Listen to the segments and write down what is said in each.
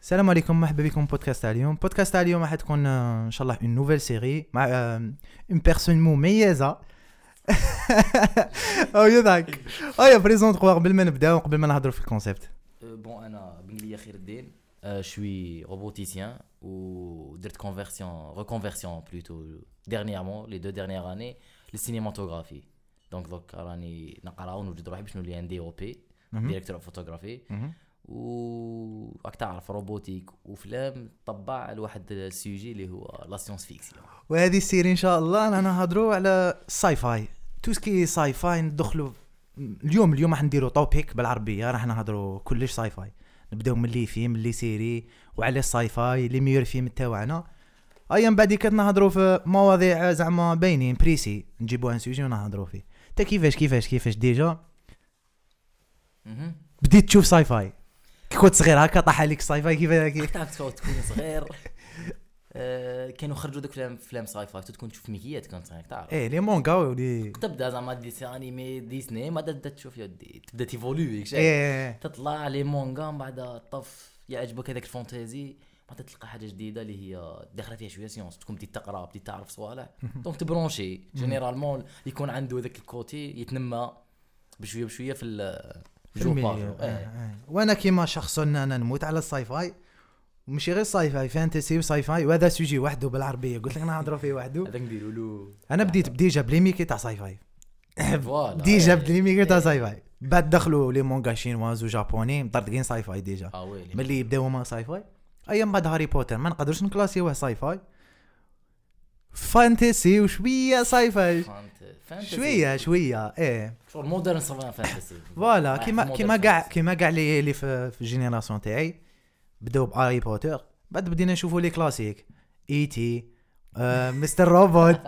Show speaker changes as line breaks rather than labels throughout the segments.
السلام عليكم مرحبا بكم بودكاست تاع اليوم بودكاست تاع اليوم راح تكون آه، ان شاء الله اون نوفيل سيري مع آه، اون بيرسون مميزه او يضحك او يا بريزونت خويا قبل ما نبداو قبل ما نهضروا في الكونسيبت
أه، بون انا بنقلية خير الدين أه، شوي روبوتيسيان ودرت كونفيرسيون ريكونفيرسيون بلوتو ديرنييرمون لي دو ديرنيير اني للسينيماتوغرافي دونك دوك راني نقرا ونوجد روحي باش نولي ان دي او بي
Mhm.
ديريكتور فوتوغرافي و راك تعرف روبوتيك وفلام طبع لواحد السيجي اللي هو لا سيونس فيكسيون
وهذه السيري ان شاء الله رانا نهضروا على الساي فاي تو سكي ساي فاي ندخلوا اليوم اليوم راح نديروا توبيك بالعربيه راح نهضروا كلش ساي فاي نبداو من لي فيلم لي سيري وعلى الساي فاي لي ميور فيلم تاعنا ايا من بعد كنا نهضروا في مواضيع زعما باينين بريسي نجيبوا ان سوجي ونهضروا فيه تا كيفاش كيفاش كيفاش ديجا
مهم.
بديت تشوف ساي فاي كي كنت صغير هكا طاح عليك ساي فاي كيف كيف
كيف تعرف تكون تكون صغير أه، كانوا خرجوا دوك فلام فلام ساي فاي تكون تشوف ميكيات كنت صغير تعرف
ايه لي مونغا ولي
تبدا زعما ديسي انيمي ديزني ما تبدا تشوف يا ودي تبدا تيفولوي
ايه
تطلع لي مونغا من بعد طف يعجبك هذاك الفونتازي ما تلقى حاجه جديده اللي هي داخله فيها شويه سيونس تكون بديت تقرا بديت تعرف صوالح دونك تبرونشي جينيرالمون يكون عنده هذاك الكوتي يتنمى بشويه بشويه في ال-
في
جو
الميليو.
باجو.
آه،
إيه.
آه. وانا كيما شخص انا أنا نموت على الساي فاي ومشي غير ساي فاي فانتسي وساي فاي وهذا سوجي وحده بالعربيه قلت لك نهضروا فيه وحده
هذا نديروا له
انا بديت ديجا بليميكي تاع ساي فاي
فوالا
ديجا
إيه.
بليميكي تاع ساي فاي بعد دخلوا لي مونغا شينواز وجابوني مطردقين ساي فاي ديجا
اه ويلي
ملي يبداو هما ساي فاي ايا من بعد هاري بوتر ما نقدرش نكلاسيوه ساي فاي فانتسي وشويه ساي فاي
فانت- فانتسي.
شويه شويه ايه
شغل مودرن صغير فانتسي
فوالا
رايح
كيما
في
كيما
مودرن
كاع
فانتسي.
كيما كاع لي لي في في الجينيراسيون تاعي بداو بهاري بوتر بعد بدينا نشوفوا لي كلاسيك اي تي آه، مستر روبوت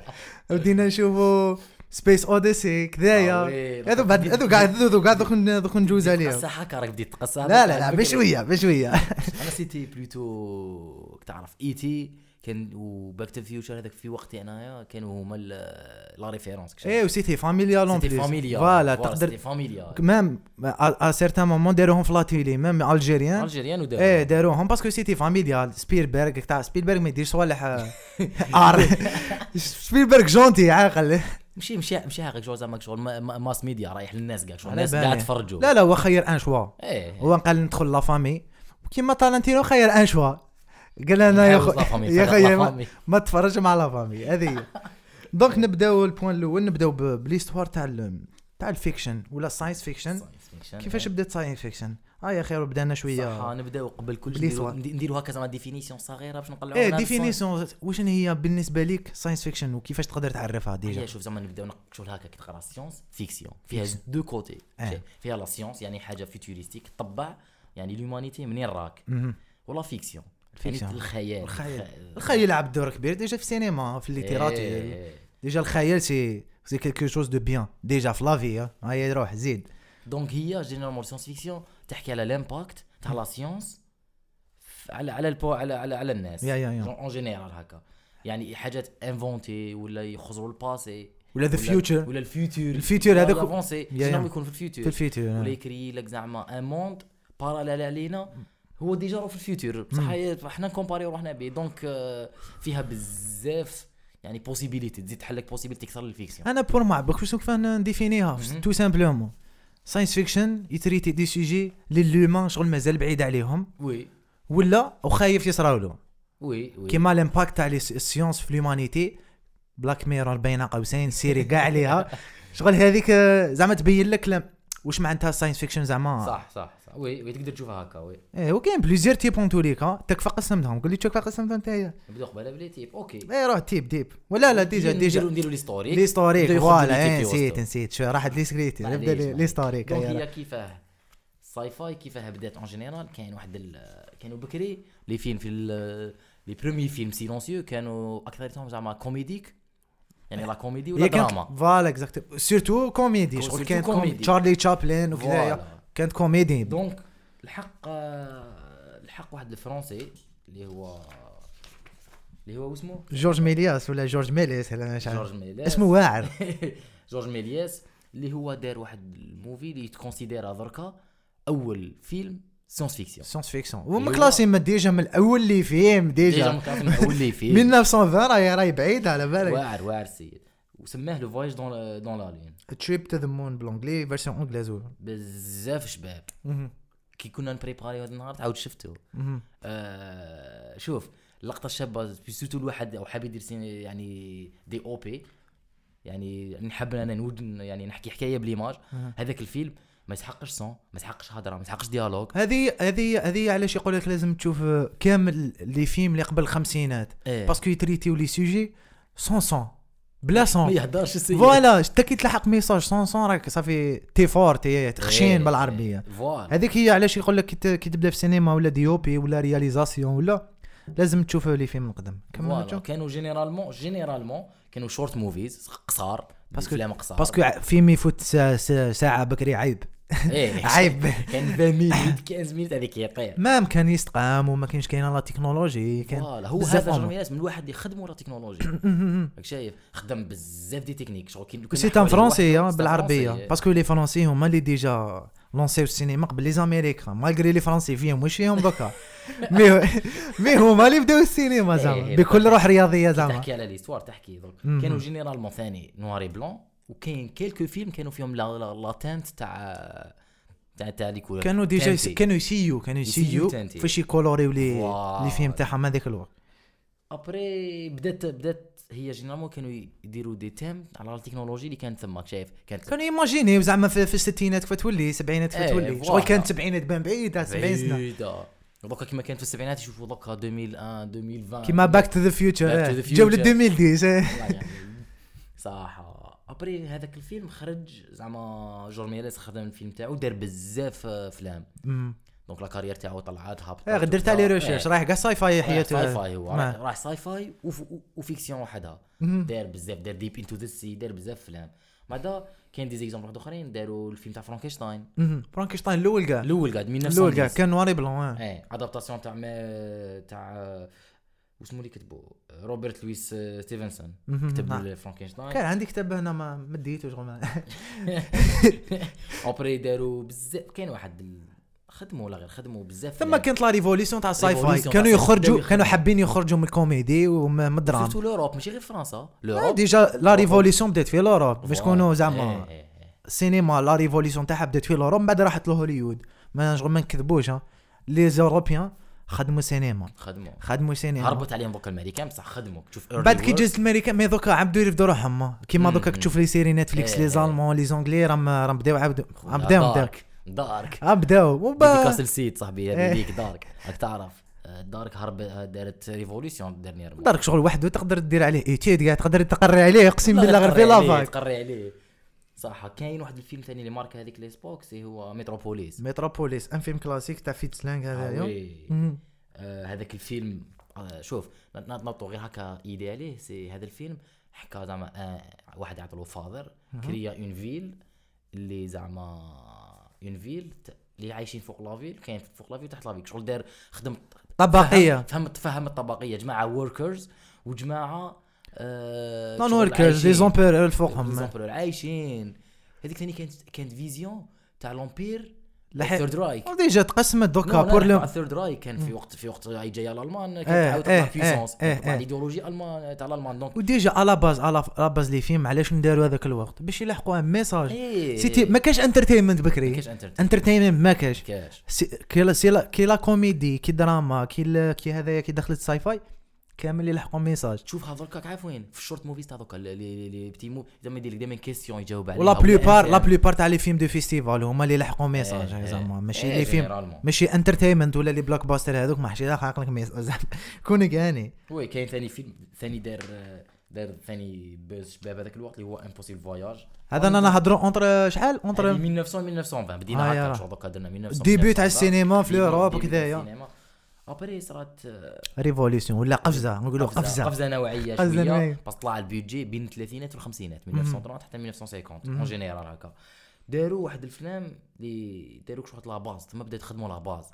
بدينا نشوفوا سبيس اوديسي
آه،
كذايا
وي.
هذو بعد هذو كاع هذو كاع دوك دوك ندوز عليهم
تقصى حكا راك بديت تقصى
لا لا لا
Ah,
بشويه بشويه
انا سيتي بلوتو تعرف اي تي كان وباك تو فيوتشر هذاك في وقتي انايا كانوا هما ال- لا ريفيرونس كشي.
ايه وسيتي فاميليال اون
سيتي
بليس
فاميليا
فوالا تقدر
سيتي فاميليا
ميم ا سيرتان مومون داروهم في لا تيلي ميم الجيريان
الجيريان ودار
ايه داروهم باسكو سيتي فاميليال سبيلبرغ تاع سبيلبرغ ما يديرش صوالح آه، ار سبيلبرغ جونتي عاقل
مشي مشي مشي هاك شغل زعما شغل ما- ما- ماس ميديا رايح للناس كاع شغل
على
الناس
بالي.
قاعد تفرجوا
لا لا هو خير ان شوا
ايه
هو قال ندخل لا فامي وكيما تالنتينو خير ان شوا قال انا يا
نحاول لا
خو...
فامي،
يا
فقط لا
خي ما,
فامي.
ما تفرج مع لا فامي هذه هي دونك نبداو البوان الاول نبداو ب- بليستوار تاع ال- تاع الفيكشن ولا الساينس فيكشن
ساينس فيكشن،
كيفاش
إيه.
بدات ساينس فيكشن اه يا خير بدانا شويه
صح نبداو قبل كل
بلي
شيء نديرو-
سوا.
ندي- نديرو هكا زعما ديفينيسيون صغيره باش نقلعوا
ايه ديفينيسيون واش هي بالنسبه ليك ساينس فيكشن وكيفاش تقدر تعرفها
هي
ديجا
شوف زعما نبداو نقشوا هكا كي تقرا سيونس فيكسيون فيها
فيكسيون.
دو كوتي
آه.
شي- فيها لا سيونس يعني حاجه فيتوريستيك تطبع يعني لومانيتي منين راك
مهم.
ولا فيكسيون
الفيكسيون.
يعني الخيال
الخيال
الخ-
الخيال يلعب دور كبير ديجا في السينما في الليتيراتور
إيه.
ديجا الخيال سي سي كيلكو شوز دو بيان ديجا في لافي ها هيا روح زيد
دونك هي جينيرالمون سيونس فيكسيون تحكي على لامباكت تاع لا سيونس ف- على على البو على على, على الناس
يا- يا- يا.
اون جينيرال هكا يعني حاجات انفونتي ولا يخزروا الباسي
ولا ذا فيوتشر
ولا الفيوتور
الفيوتشر هذاك هو-
افونسي
يا- يا.
شنو يكون في الفيوتور
في الفيتور
ولا يكري لك زعما ان موند باراليل علينا هو ديجا راه في الفيوتور بصح هي- حنا نكومباريو روحنا به دونك آه، فيها بزاف يعني بوسيبيليتي تزيد تحل لك بوسيبيليتي اكثر للفيكسيون
انا بور ما عبك شوف كيف نديفينيها
مهم.
تو سامبلومون ساينس فيكشن يتريتي دي سوجي لي لومان شغل مازال بعيد عليهم
وي
ولا وخايف يصراولو
وي وي
كيما الامباكت تاع لي س- السيونس في لومانيتي بلاك ميرور بين قوسين سيري كاع عليها شغل هذيك آه، زعما تبين لك لم- واش معناتها ساينس فيكشن زعما
صح صح صح وي وي تقدر تشوفها هكا وي
ايه وكاين بليزيور تيب اون توليكا تكفى قسمتهم قول لي تكفى قسمتهم نتايا
نبداو قبل بلي تيب اوكي
ايه روح تيب ديب ولا لا ديجا
نديرو
ديجا
نديرو ليستوريك
لي ستوريك فوالا إيه، نسيت
نسيت
نسيت شو راحت لي سكريتي نبدا لي- لي ستوريك
دونك
إيه،
هي كيفاه ساي فاي كيفاه بدات اون جينيرال كاين واحد ال- كانوا بكري لي فيلم في ال- لي برومي فيلم سيلونسيو كانوا اكثرهم زعما كوميديك يعني لا كوميدي ولا
هي كانت
دراما
فوالا اكزاكت سيرتو كوميدي
كو-
شغل
سيرتو
كانت كوم-
كوميدي.
تشارلي تشابلين وكذايا
فوالا.
كانت كوميدي
دونك الحق آه، الحق واحد الفرنسي اللي هو اللي هو اسمه
جورج ميلياس ولا جورج ميليس ولا مش عارف
جورج ميليس.
اسمه واعر
جورج ميلياس اللي هو دار واحد الموفي اللي تكونسيديرا دركا اول فيلم سيونس فيكسيون
سيونس فيكسيون هما
هو-
كلاسيين ديجا من الاول اللي فيهم
ديجا
ديجا
مكاتب الاول اللي فيه
1920 راهي راهي بعيده على بالك
واعر واعر السيد وسماه لو فوايج دون دون لا لين
تريب تو ذا مون بالانجلي فيرسيون انجليز
بزاف شباب كي كنا نبريباري هذا النهار تعاود شفته آه شوف اللقطه الشابه سيرتو الواحد او حاب يدير سين- يعني دي او بي يعني نحب انا نود يعني نحكي حكايه بليماج
أها.
هذاك الفيلم ما يسحقش سون ما يسحقش هضره ما يسحقش ديالوج
هذه هذه هذه علاش يقول لك لازم تشوف آه، كامل لي فيلم اللي قبل الخمسينات
إيه.
باسكو يتريتيو لي سوجي سون سون بلا
ما
سون
يهدرش السيد
فوالا حتى كي تلحق ميساج سون سون راك صافي تي فور تي خشين
إيه.
بالعربيه
فوالا
هذيك هي علاش يقول لك كي ت- كي تبدا في السينما ولا ديوبي ولا رياليزاسيون ولا لازم تشوف لي فيلم القدم كمل
فوالا
جو.
كانوا جينيرالمون جينيرالمون كانوا شورت موفيز قصار
باسكو-
افلام قصار
باسكو ع- فيلم يفوت ساعة- ساعة- ساعه بكري عيب
إيه.
عيب
كان 20 مينيت 15 مينيت هذيك هي طيب. طير
ما امكان يستقام وما كاينش كاينه لا تكنولوجي كان
فوالا هو
بزاف
هذا
أمور.
جرميلاس من الواحد يخدموا لا تكنولوجيا راك شايف خدم بزاف دي تكنيك شغل كي كنا
سي
حوالي
تان فرونسي
واحد-
ها،
سي
بالعربيه
فرونسي.
باسكو لي فرونسي هما اللي ديجا لونسيو السينما قبل لي زاميريكان مالغري لي فرونسي فيهم واش فيهم دوكا مي مي هما اللي بداو السينما زعما
إيه،
بكل روح رياضيه زعما
تحكي على ليستوار تحكي دونك
مهم.
كانوا جينيرالمون ثاني نواري بلون وكاين كيلكو فيلم كانوا فيهم لا- لا- لاتانت تاع تاع تاع لي كولور
كانوا ديجا يس-
تانتي.
كانوا يسيو كانوا
يسيو
يسيو
تانتي.
فاش يكولوريو لي
واو.
لي فيلم تاعهم هذاك الوقت
ابري بدات بدات هي جينيرالمون كانوا يديروا دي تيم على التكنولوجي اللي كانت تماك شايف كانت
كانوا يماجينيو زعما في, في الستينات كيف تولي سبعينات كيف
إيه،
تولي
فوالا.
شغل كانت سبعينات بان بعيده 70 سنه
بعيدة. دوكا كما كانت في السبعينات يشوفوا دوكا 2001 2020
كيما باك تو ذا
Back
فيوتشر
to the
جاو ل
Future.
2010
والله يعني صح ابري هذاك الفيلم خرج زعما جورميليس خدم الفيلم تاعو دار بزاف افلام
أمم.
دونك لا كارير تاعو طلعت هبطت
إيه، درت عليه
وبدا.
ريشيرش
إيه،
رايح كاع ساي فاي
رايح
حياته
ساي فاي هو
ما.
رايح- رايح ساي فاي وف- و- وفيكسيون وحدها
مهم.
دار بزاف دار ديب انتو ذا سي دار بزاف افلام بعدا كاين دي زيكزامبل واحد اخرين داروا الفيلم تاع فرانكشتاين
مهم. فرانكشتاين الاول كاع
الاول قاعد
الاول كاع
1910
كان نواري بلون إيه.
ايه ادابتاسيون تاع ما تاع واسمو اللي كتبو روبرت لويس آه، ستيفنسون
مهم. نعم.
كتب فرانكشتاين
كان عندي كتاب هنا ما مديته شغل ما-
اوبري داروا بزاف كاين واحد ال- خدموا ولا غير خدموا بزاف
ثم كانت لا ريفوليسيون تاع الساي فاي
إيه. ريفوليسيون
كانوا
تاع الساي فاي.
يخرجوا
بداو
كانوا
يخرجوا.
حابين يخرجوا من الكوميدي ومن الدراما
سيرتو لوروب ماشي غير فرنسا
آه،
لوروب
ديجا لا ريفوليسيون بدات في لوروب باش تكونوا زعما
إيه، إيه، إيه.
السينما لا ريفوليسيون تاعها بدات في لوروب من بعد راحت لهوليود ما شغل ما نكذبوش ها لي زوروبيان خدموا سينما
خدموا
خدموا سينما
هربت عليهم دوك الامريكان بصح خدموا تشوف early
بعد كي
work.
جات الامريكان مي دوكا عبدو يرفدوا روحهم كيما دوكا
مم.
تشوف لي سيري نتفليكس
إيه،
لي
إيه.
زالمون لي زونجلي راهم راهم بداو عبدو
خويا،
راهم بداو بداو
دارك دارك
راهم بداو وبا
ديكاسل سيد صاحبي
إيه.
هذه ليك دارك راك تعرف آه، دارك هرب آه، دارت ريفوليسيون ديرنيير
دارك شغل وحده تقدر دير عليه ايتيد قاعد تقدر تقري عليه اقسم بالله غير في لافاك
تقري عليه صح كاين واحد الفيلم ثاني اللي ماركا هذيك ليسبوكس هو متروبوليس
ميتروبوليس ان فيلم كلاسيك تاع فيتسلانغ هذا
آه،
اليوم
وي.
مم.
آه، هذاك الفيلم آه، شوف ن- ن- نعطوا غير هكا ايدي عليه سي هذا الفيلم حكى زعما آه، واحد عطلو فاذر كريا اون فيل اللي زعما اون فيل ت- اللي عايشين فوق لافيل كاين فوق لافيل تحت لافيل شغل دار خدم
طبقيه
فهمت فهم الطبقيه جماعه وركرز وجماعه آه،
نون
شغل
وركرز لي
عايشين.
زومبير
لي
فوقهم
زومبرور عايشين هذيك ثاني كانت كانت فيزيون تاع لومبير
لح-
ثيرد رايك
ديجا تقسمت دوكا بور لو
الثيرد راي كان في وقت في وقت هاي جايه الالمان كانت
إيه،
تعاود
إيه،
تطلع بيسونس
إيه، إيه.
الايديولوجي المان تاع الالمان دونك
وديجا على باز على على باز لي فيلم علاش نداروا هذاك الوقت باش يلحقوا ان ميساج
إيه.
سيتي ما كاش انترتينمنت بكري
كاش انترتين
انترتينمنت ما كاش
كاش
سي- كي لا- سي لا- كي لا كوميدي كي دراما كي ال- كي هذايا كي دخلت ساي فاي كامل يلحقوا ميساج
تشوف هذوك راك عارف وين في الشورت موفيز تاع هذوك لي- لي لي بتي موف زعما يدير لك دائما كيسيون يجاوب عليها
ولا بلوبار
ولا
لا
أنت-
بلوبار تاع لي فيلم دو فيستيفال هما اللي لحقوا
إيه،
ميساج
إيه.
زعما ماشي
إيه،
لي فيلم
généralement.
ماشي انترتينمنت ولا لي بلاك باستر هذوك ماحش يلحق لك ميساج زعما كونك هاني
وي كاين ثاني فيلم ثاني دار آه، دار ثاني بوز شباب هذاك الوقت اللي هو امبوسيبل فواياج
هذا انا نهضروا اونتر شحال اونتر
1900 1920 بدينا
آه، يلا.
هكا شغل دوكا درنا 1900
ديبي تاع
1920.
السينما في
ديبي-
اوروب
ديبي تاع
وكذايا
السينما. ابري صرات آه،
ريفوليسيون ولا قفزه نقولوا
قفزه قفزه,
قفزه
قفزة نوعيه
قفزة نوعية.
شويه بس طلع البيدجي بين الثلاثينات والخمسينات من 1930 حتى 1950 اون جينيرال هكا داروا واحد الافلام اللي داروك واحد لاباز تما بدات يخدموا لاباز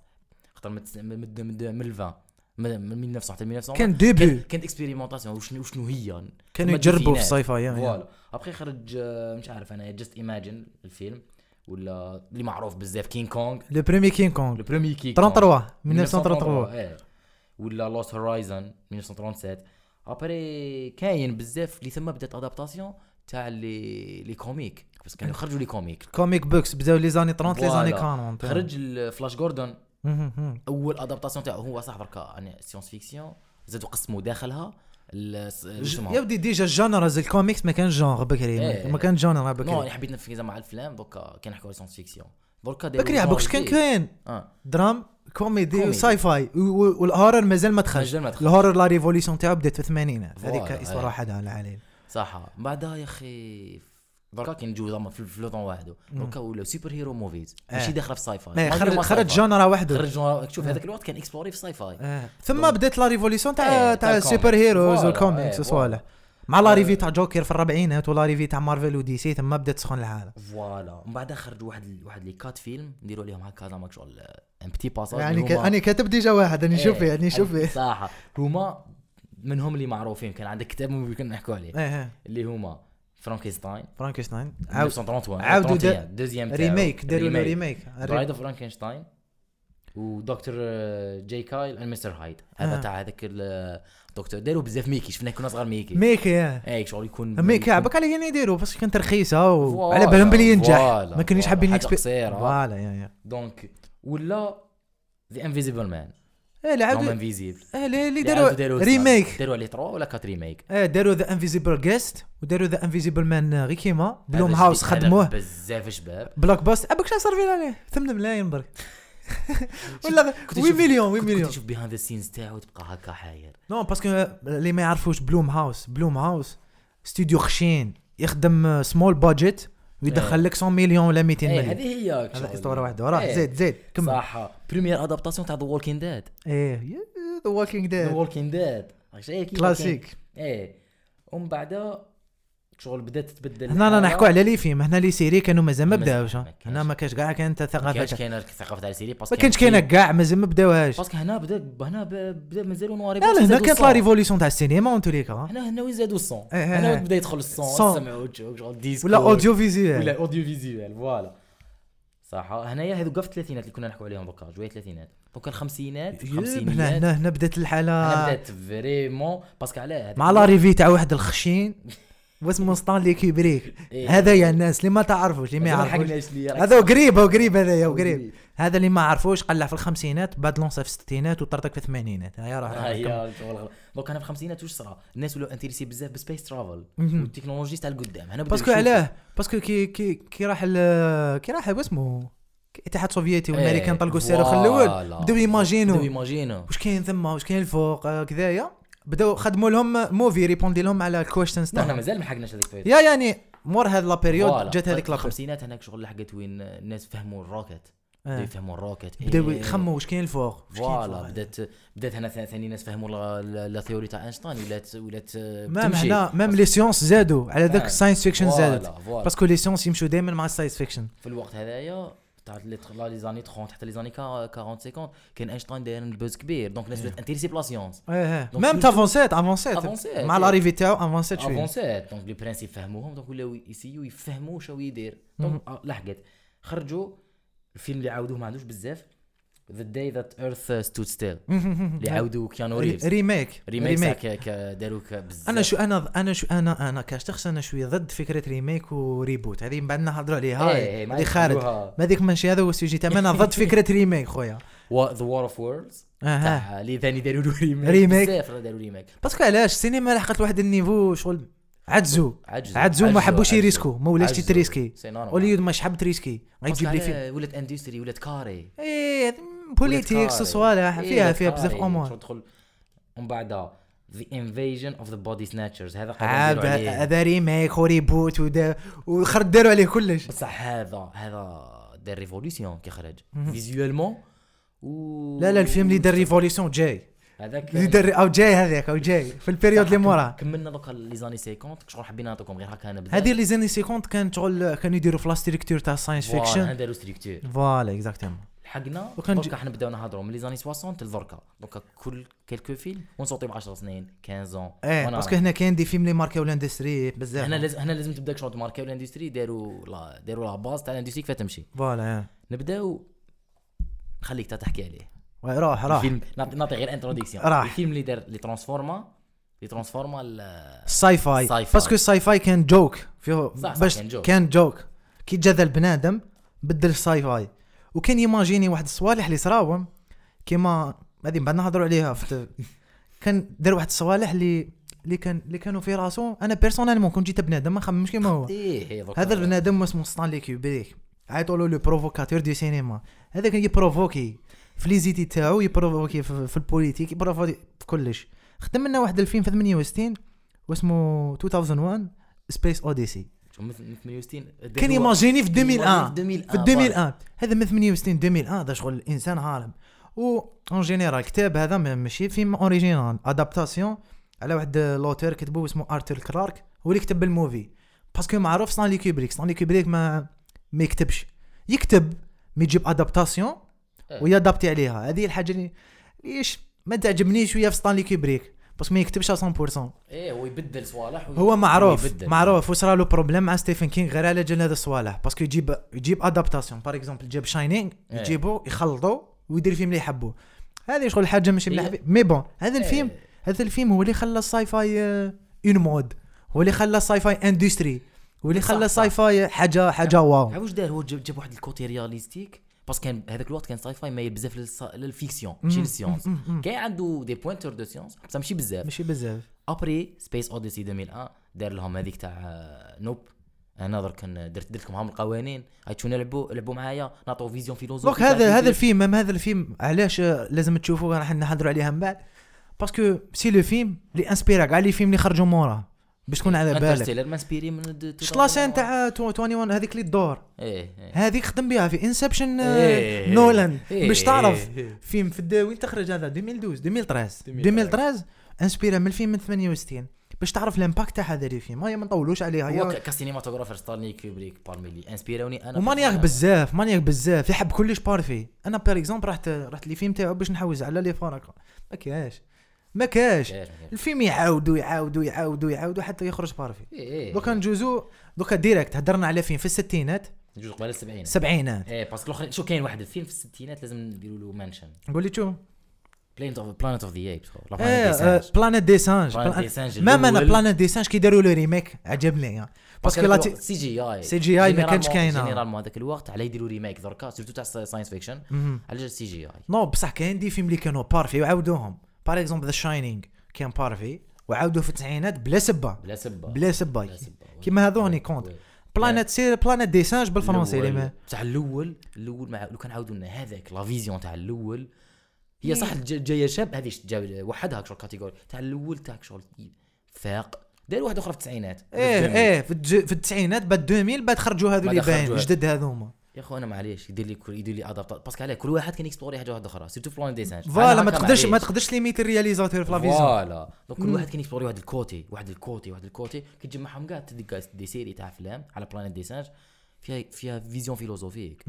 خاطر من تس- من من- من من الفان من من 1900 حتى 1900
كان ديبي
كانت اكسبيريمونطاسيون وشنو وشنو هي
كانوا
تما
يجربوا في يعني.
الديفينات.
الساي فاي يعني.
فوالا ابخي خرج آه، مش عارف انا جست ايماجين الفيلم ولا اللي معروف بزاف كينغ كونغ
لو بريمي كينغ
لو
كونغ
بروميي كينغ كونغ
33 1933
إيه. ولا لوست هورايزون 1937 ابري كاين بزاف اللي ثم بدات ادابتاسيون تاع لي لي كوميك بس كانوا يخرجوا لي كوميك
كوميك بوكس بداو لي زاني 30 لي زاني
Voilà.
40
خرج الفلاش جوردون
مهم، مهم.
اول ادابتاسيون تاعو هو صح بركا يعني سيونس فيكسيون زادوا قسموا داخلها ال- س- اسمها.
يبدي ديجا الجانرز الكوميكس ما كانش جونغ بكري
إيه.
ما كانش جونغ
نو
بكري
انا حبيت نفكر مع الافلام دوكا كي نحكوا على سيونس فيكسيون دوكا دايروا
بكري
جونر
عبوكش كان
جديد.
كاين
اه
درام كوميدي
كوميدي.
وساي فاي و- و- والهورر مازال ما دخلش
مازال ما دخلش.
الهورر لا ريفوليسيون تاعو بدات في الثمانينات هذيك
Voilà،
اصرار
إيه.
وحدها لا عليه
صح بعدها يا اخي دركا كي نجوز زعما في في لوطون وحده دركا ولاو سوبر هيرو موفيز ماشي
إيه.
داخله في ساي فاي
إيه،
ما
خرج
هما
خرج
sci-fi.
جانرا وحده
خرج جونر- شوف هذاك الوقت كان اكسبلوري في ساي فاي
آه. ثم
دونك-
بدات لا ريفوليسيون تاع
إيه،
تاع
تاع
السوبر
الكوميكس.
هيروز
Voilà،
والكوميكس
إيه،
وصوالح مع لا
آه.
ريفي تاع جوكر في الربعينات ولا ريفي تاع مارفل وديسي ثم بدات تسخن العالم
فوالا ومن بعدها خرجوا واحد واحد لي كات فيلم نديروا عليهم هكا زعما شغل آه، ان بتي باساج
يعني
اللي
ك...
هما-
انا كاتب ديجا واحد راني
إيه،
نشوف فيه راني نشوف فيه
صح هما منهم اللي معروفين كان عندك كتاب ممكن نحكوا عليه
إيه، إيه.
اللي هما فرانكنشتاين
فرانكشتاين عاود
1931
عاودوا دا-
31، دوزيام تاعو.
ريميك داروا له ريميك
برايد اوف فرانكنشتاين ودكتور آه، جاي كايل اند مستر هايد
آه.
هذا تاع هذاك ال- الدكتور داروا بزاف ميكي شفنا كنا صغار ميكي
ميكي آه.
اي شغل يكون
ميكي
يكون-
عباك على كان يديروا بس كانت رخيصه
فوالا،
وعلى بالهم بلي ينجح
فوالا،
ما كانوش
فوالا،
حابين
حاجة
يكسبي-
قصيرة.
فوالا يا يا
دونك ولا ذا انفيزيبل مان
ايه
نوم
لعبوا
انفيزيبل
ايه اللي اللي داروا ريميك
داروا عليه تروا ولا كات ريميك
ايه داروا ذا انفيزيبل جيست وداروا ذا انفيزيبل مان غير كيما بلوم هاوس خدموه
بزاف شباب
بلوك باست ابك شنو صار فينا عليه 8 ملايين برك ولا
كنت
8
تشوف-
مليون 8
كنت كنت
مليون
تشوف بيهاند ذا سينز تاعو تبقى هكا حاير
نو باسكو اللي ما يعرفوش بلوم هاوس بلوم هاوس استوديو خشين يخدم سمول بادجت ويدخل
إيه.
لك 100 مليون ولا 200
اي
مليون
إيه، هذه هي إيه،
هذا اسطوره واحده راه زيد زيد كمل
صح بريمير ادابتاسيون تاع ذا وولكين ديد
ايه ذا ووكينج
ذا
ديد
وولكين ديد
كلاسيك
ايه ومن بعد شغل بدات تتبدل
هنا رانا
الحالة.
نحكوا على لي فيلم هنا لي سيري كانوا مازال ما
مازال
بداوش
ما كانش.
هنا ما كانش كاع كانت
ما كانش
ثقافه
كاينه الثقافه تاع السيري
ما كانش كاينه كاع مازال ما بداوهاش
باسكو هنا بدا هنا ب- بدا مازالوا نواري
لا لا
بلاصة
هنا
زادوا
كانت لا
الصوت.
ريفوليسيون تاع السينما اون تولي كا
هنا هنا وين زادوا الصون
إيه إيه
هنا
إيه.
بدا يدخل الصون
الصون.
سمعوا جو- شغل ديسكو
ولا اوديو فيزيوال
ولا اوديو فيزيوال فوالا صح هنايا هذوك في الثلاثينات اللي كنا نحكوا عليهم دوكا جوايه الثلاثينات دوكا الخمسينات
هنا
الخمسينيات
هنا هنا بدات
انا
الحاله
بدات فريمون باسكو علاه هذاك
مع لا ريفي تاع واحد الخشين واسمه ستانلي كيبريك
إيه.
هذا يا الناس اللي ما تعرفوش اللي ما
زعما
يعرفوش
حقناش ليه، راك
هذا قريب هو قريب هذا يا
هو
قريب
قريب.
هذا اللي ما عرفوش قلع في الخمسينات بعد لونسا في الستينات وطرطق في الثمانينات هيا راه
آه،
راه كم-
يا شغل غلط. دوك انا في الخمسينات واش صرا الناس ولاو انتريسي بزاف بسبيس ترافل
مهم.
والتكنولوجي تاع القدام هنا بداو
باسكو
يشوفوا.
علاه باسكو كي كي كي راح ال- كي راح واسمو الاتحاد السوفيتي والامريكان
إيه،
طلقوا الصاروخ الاول
فوالا.
بداو
بداو
يماجينو
يماجينو
واش كاين ثما واش كاين الفوق آه، كذايا بداو خدموا لهم موفي ريبوندي لهم على الكويشنز
احنا
تاعهم
مازال ما حقناش هذيك الفايدة.
يا يعني مور هاد لا بيريود
فوالا.
جات هذيك لا
الخمسينات هناك شغل لحقت وين الناس فهموا الروكت بداو
بيريود
يفهموا الروكت
آه. بداو
إيه.
يخموا واش كاين الفوق واش كاين
فوالا
الفوق.
بدات بدات هنا ثاني ثاني ناس فهموا لا- لا لا ثيوري تاع اينشتاين ولات ولات
مام هنا مام لي سيونس زادوا على ذاك
آه.
الساينس فيكشن زادت
زادت
باسكو لي سيونس يمشوا دائما مع الساينس فيكشن
في الوقت هذايا تاع لي تخ- لا لي زاني 30 حتى لي زاني 40 50 كان اينشتاين داير بوز كبير دونك
إيه.
الناس بدات انتريسي بلا سيونس
ايه
Donc
مام
plutôt-
تافونسيت افونسيت
Avancée,
مع
إيه.
لاريفي تاعو افونسيت شويه
افونسيت دونك لي برانسيب فهموهم دونك ولاو يسيو يفهموا شنو يدير دونك آه، لحقت خرجوا الفيلم اللي عاودوه ما عندوش بزاف ذا داي ذات ايرث ستود ستيل اللي عاودوا كيانو
ري-
ريفز
ريميك
ريميك داروا بزاف
انا شو انا انا شو انا انا كشخص انا شويه ضد فكره ريميك وريبوت هذه من بعد نهضروا عليها
إيه، إيه، ما
هذه خارج
يخلوها.
ما ذيك ماشي هذا هو السوجي تاعي انا ضد فكره ريميك خويا إيه،
ذا وور اوف وورلدز
اها
تاع اللي ثاني داروا له ريميك
ريميك.
بزاف راه داروا ريميك
باسكو علاش السينما لحقت لواحد النيفو شغل عجزوا
عجزوا
عجزوا ما
عجزوا،
حبوش
عجزوا.
يريسكو ما ولاش
عجزوا.
تتريسكي
سي نورمال.
هوليود ما حب تريسكي ما
باسكو
يجيب لي
علاه
فيلم
ولات اندستري ولات كاري
ايه
ولات
بوليتيكس
كاري.
وصوالح
إيه،
فيها
ولات
فيها بزاف
كاري.
امور
تدخل ومن بعد ذا انفيجن اوف ذا بودي سناتشرز هذا قاعد
عاد
نديروا عليه.
هذا ريميك وريبوت ودا وخر داروا عليه كلش
بصح هذا هذا دار ريفوليسيون كي خرج فيزيوالمون و
لا لا الفيلم اللي دار ريفوليسيون جاي
هذاك
اللي دار او جاي هذاك او جاي في البيريود اللي موراه
كملنا دوكا لي زاني 50 شغل حبينا نعطيكم غير هكا انا بزاف
هذه اللي زاني 50 كانت شغل كانوا يديروا في لاستريكتور تاع الساينس
فوالا، هنا
فيكشن
داروا ستريكتور
فوالا اكزاكتومون
لحقنا
وكان
دوكا
جي-
حنا بداو نهضروا من لي زاني 60 لدركا دوكا كل كيلكو فيلم ونصوتي ب 10 سنين 15 ans
ايه باسكو هنا كاين دي فيلم اللي ماركاو لاندستري بزاف
هنا لازم هنا لازم تبدا شنو تماركاو الاندستري داروا لا داروا لا باز تاع الاندستري كيفاه تمشي
فوالا إيه.
نبداو نخليك تا تحكي عليه
وي، روح روح
الفيلم نعطي نعطي غير انتروديكسيون
راح.
الفيلم اللي دار اللي ترانسفورما اللي ترانسفورما ال-
الساي فاي
الساي فاي.
باسكو الساي فاي كان جوك فيه
صح، صح،
باش
كان جوك.
كان جوك كي جا ذا البنادم بدل الساي فاي وكان يماجيني واحد الصوالح اللي صراوهم كيما هذه من بعد نهضروا عليها في الت- كان دار واحد الصوالح اللي اللي كان اللي كانوا في راسو انا بيرسونيلمون كون جيت بنادم ما نخممش كيما هو
ايه إيه، دوكا.
هذا البنادم اسمه ستانلي كوبريك عيطوا له لو بروفوكاتور دي سينما هذا كان يبروفوكي في لي زيتي تاعو يبروفوكي في, في البوليتيك يبروفوكي في كلش خدم لنا واحد الفيلم في 68 واسمه 2001 سبيس اوديسي
شو مثل مثل 68
كان يماجيني في 2001
في 2001
في 2001 هذا من 68 2001 هذا شغل الانسان عالم و اون جينيرال كتاب هذا م- ماشي فيلم اوريجينال ادابتاسيون على واحد لوتور كتبو اسمه ارتر كلارك هو اللي كتب الموفي باسكو معروف ستانلي كوبريك ستانلي كوبريك ما ما يكتبش يكتب مي يجيب ادابتاسيون
إيه.
ويادابتي عليها هذه الحاجه اللي ليش ما تعجبنيش شويه في ستانلي كوبريك باسكو ما يكتبش 100%
ايه هو يبدل صوالح وي-
هو معروف
ويبدل.
معروف وصرا له بروبليم مع ستيفن كينغ غير على جال هذا الصوالح باسكو يجيب يجيب ادابتاسيون باغ اكزومبل جاب شاينينغ
إيه.
يجيبو يخلطو ويدير فيلم اللي يحبوه هذه شغل حاجه ماشي مليحه
هي-
فيه. مي بون هذا
إيه.
الفيلم هذا الفيلم هو اللي خلى الساي فاي آه، اون مود هو اللي خلى الساي فاي اندستري هو اللي
صح،
خلى
صح.
الساي فاي حاجه حاجه واو
عرف واش دار هو جاب جاب واحد الكوتي رياليستيك باسكو كان هذاك الوقت كان ساي فاي مايل بزاف للسا- للفيكسيون ماشي للسيونس كاين عنده دي بوينتور دو سيونس بصح ماشي بزاف
ماشي بزاف
ابري سبيس اوديسي 2001 دار لهم هذيك تاع آه، نوب انا درك كان درت درت لكم هم القوانين هاي تشون لعبوا لعبوا معايا نعطوا فيزيون
دونك
فيلوزوفيك
هذا هذا الفيلم أم هذا الفيلم علاش آه، لازم تشوفوه راح نهضروا عليها من بعد باسكو سي لو فيلم اللي انسبيرا كاع لي فيلم اللي خرجوا موراه باش تكون على بالك
انترستيلر ما انسبيري من د-
شلاشين تاع 21 هذيك اللي الدور
ايه إيه.
هذيك خدم بها في انسبشن
إيه.
نولان
إيه.
باش تعرف فيلم في الدا- وين تخرج هذا 2012 2013 2013 انسبيرا من الفيلم من 68 باش تعرف الامباكت تاع هذا الفيلم هيا ما نطولوش عليها
هو
هي
ك- كسينماتوغرافر ستانلي كوبريك بارمي لي انسبيروني انا
ومانياك
بيرسونيل.
بزاف مانياك بزاف يحب كلش بارفي انا بار اكزومبل رحت رحت لي فيلم تاعو باش نحوز على لي فراقه ما كاش ما كاش
كاش- كاش.
الفيلم يعاودوا يعاودوا يعاودوا يعاودوا حتى يخرج بارفي
ايه
دوكا
ايه
نجوزو دوكا ديريكت هدرنا على فيلم في الستينات
جوج قبل السبعين
سبعينات
ايه باسكو الاخرين شو كاين واحد الفيلم في الستينات لازم نديروا له مانشن
قول لي شو
بلانيت اوف بلانيت اوف ذا ايبس
ايه بلانيت دي سانج
Planet
Plan-
des Singes
مام انا
الأول.
بلانيت دي سانج كي داروا له ريميك عجبني ها. باسكو لا تي-
سي جي اي
CGI ما كانش كاينة.
جينيرالمون هذاك الوقت على يديروا ريميك دركا سيرتو تاع ساينس فيكشن
مهم.
على السي جي اي
نو بصح كاين دي فيلم اللي كانوا بارفي وعاودوهم باغ اكزومبل ذا شاينينغ كان بارفي وعاودوه في التسعينات بلا سبه
بلا سبه
بلا سبه
بلا سبة، وي.
كيما هذو هوني
وي.
كونت
وي.
بلانيت سير بلانيت دي سانج بالفرنسي
الأول-
اللي ما
بصح الاول الاول مع لو كان عاودوا لنا هذاك لا فيزيون تاع الاول هي صح جا- جايه شاب هذه جا- وحدها شغل كاتيجوري تاع الاول تاع شغل فاق دار واحده اخرى في التسعينات
ايه ايه في الج- في التسعينات بعد 2000 بعد خرجوا هذو
بعد
اللي
خرجوا
باين
هذو.
جدد هذوما
يا اخو انا معليش يدير لي كل يدير لي ادابت باسكو علاه كل واحد كان يكسبلوري حاجه واحده اخرى سيرتو فلان ديسان
فوالا ما تقدرش ما تقدرش ليميتي الرياليزاتور في لافيزيون
فوالا دونك كل واحد كان يكسبلوري واحد الكوتي واحد الكوتي واحد الكوتي كي تجمعهم كاع تلقى دي سيري تاع افلام على بلانيت ديسانج فيها فيها فيزيون فيلوزوفيك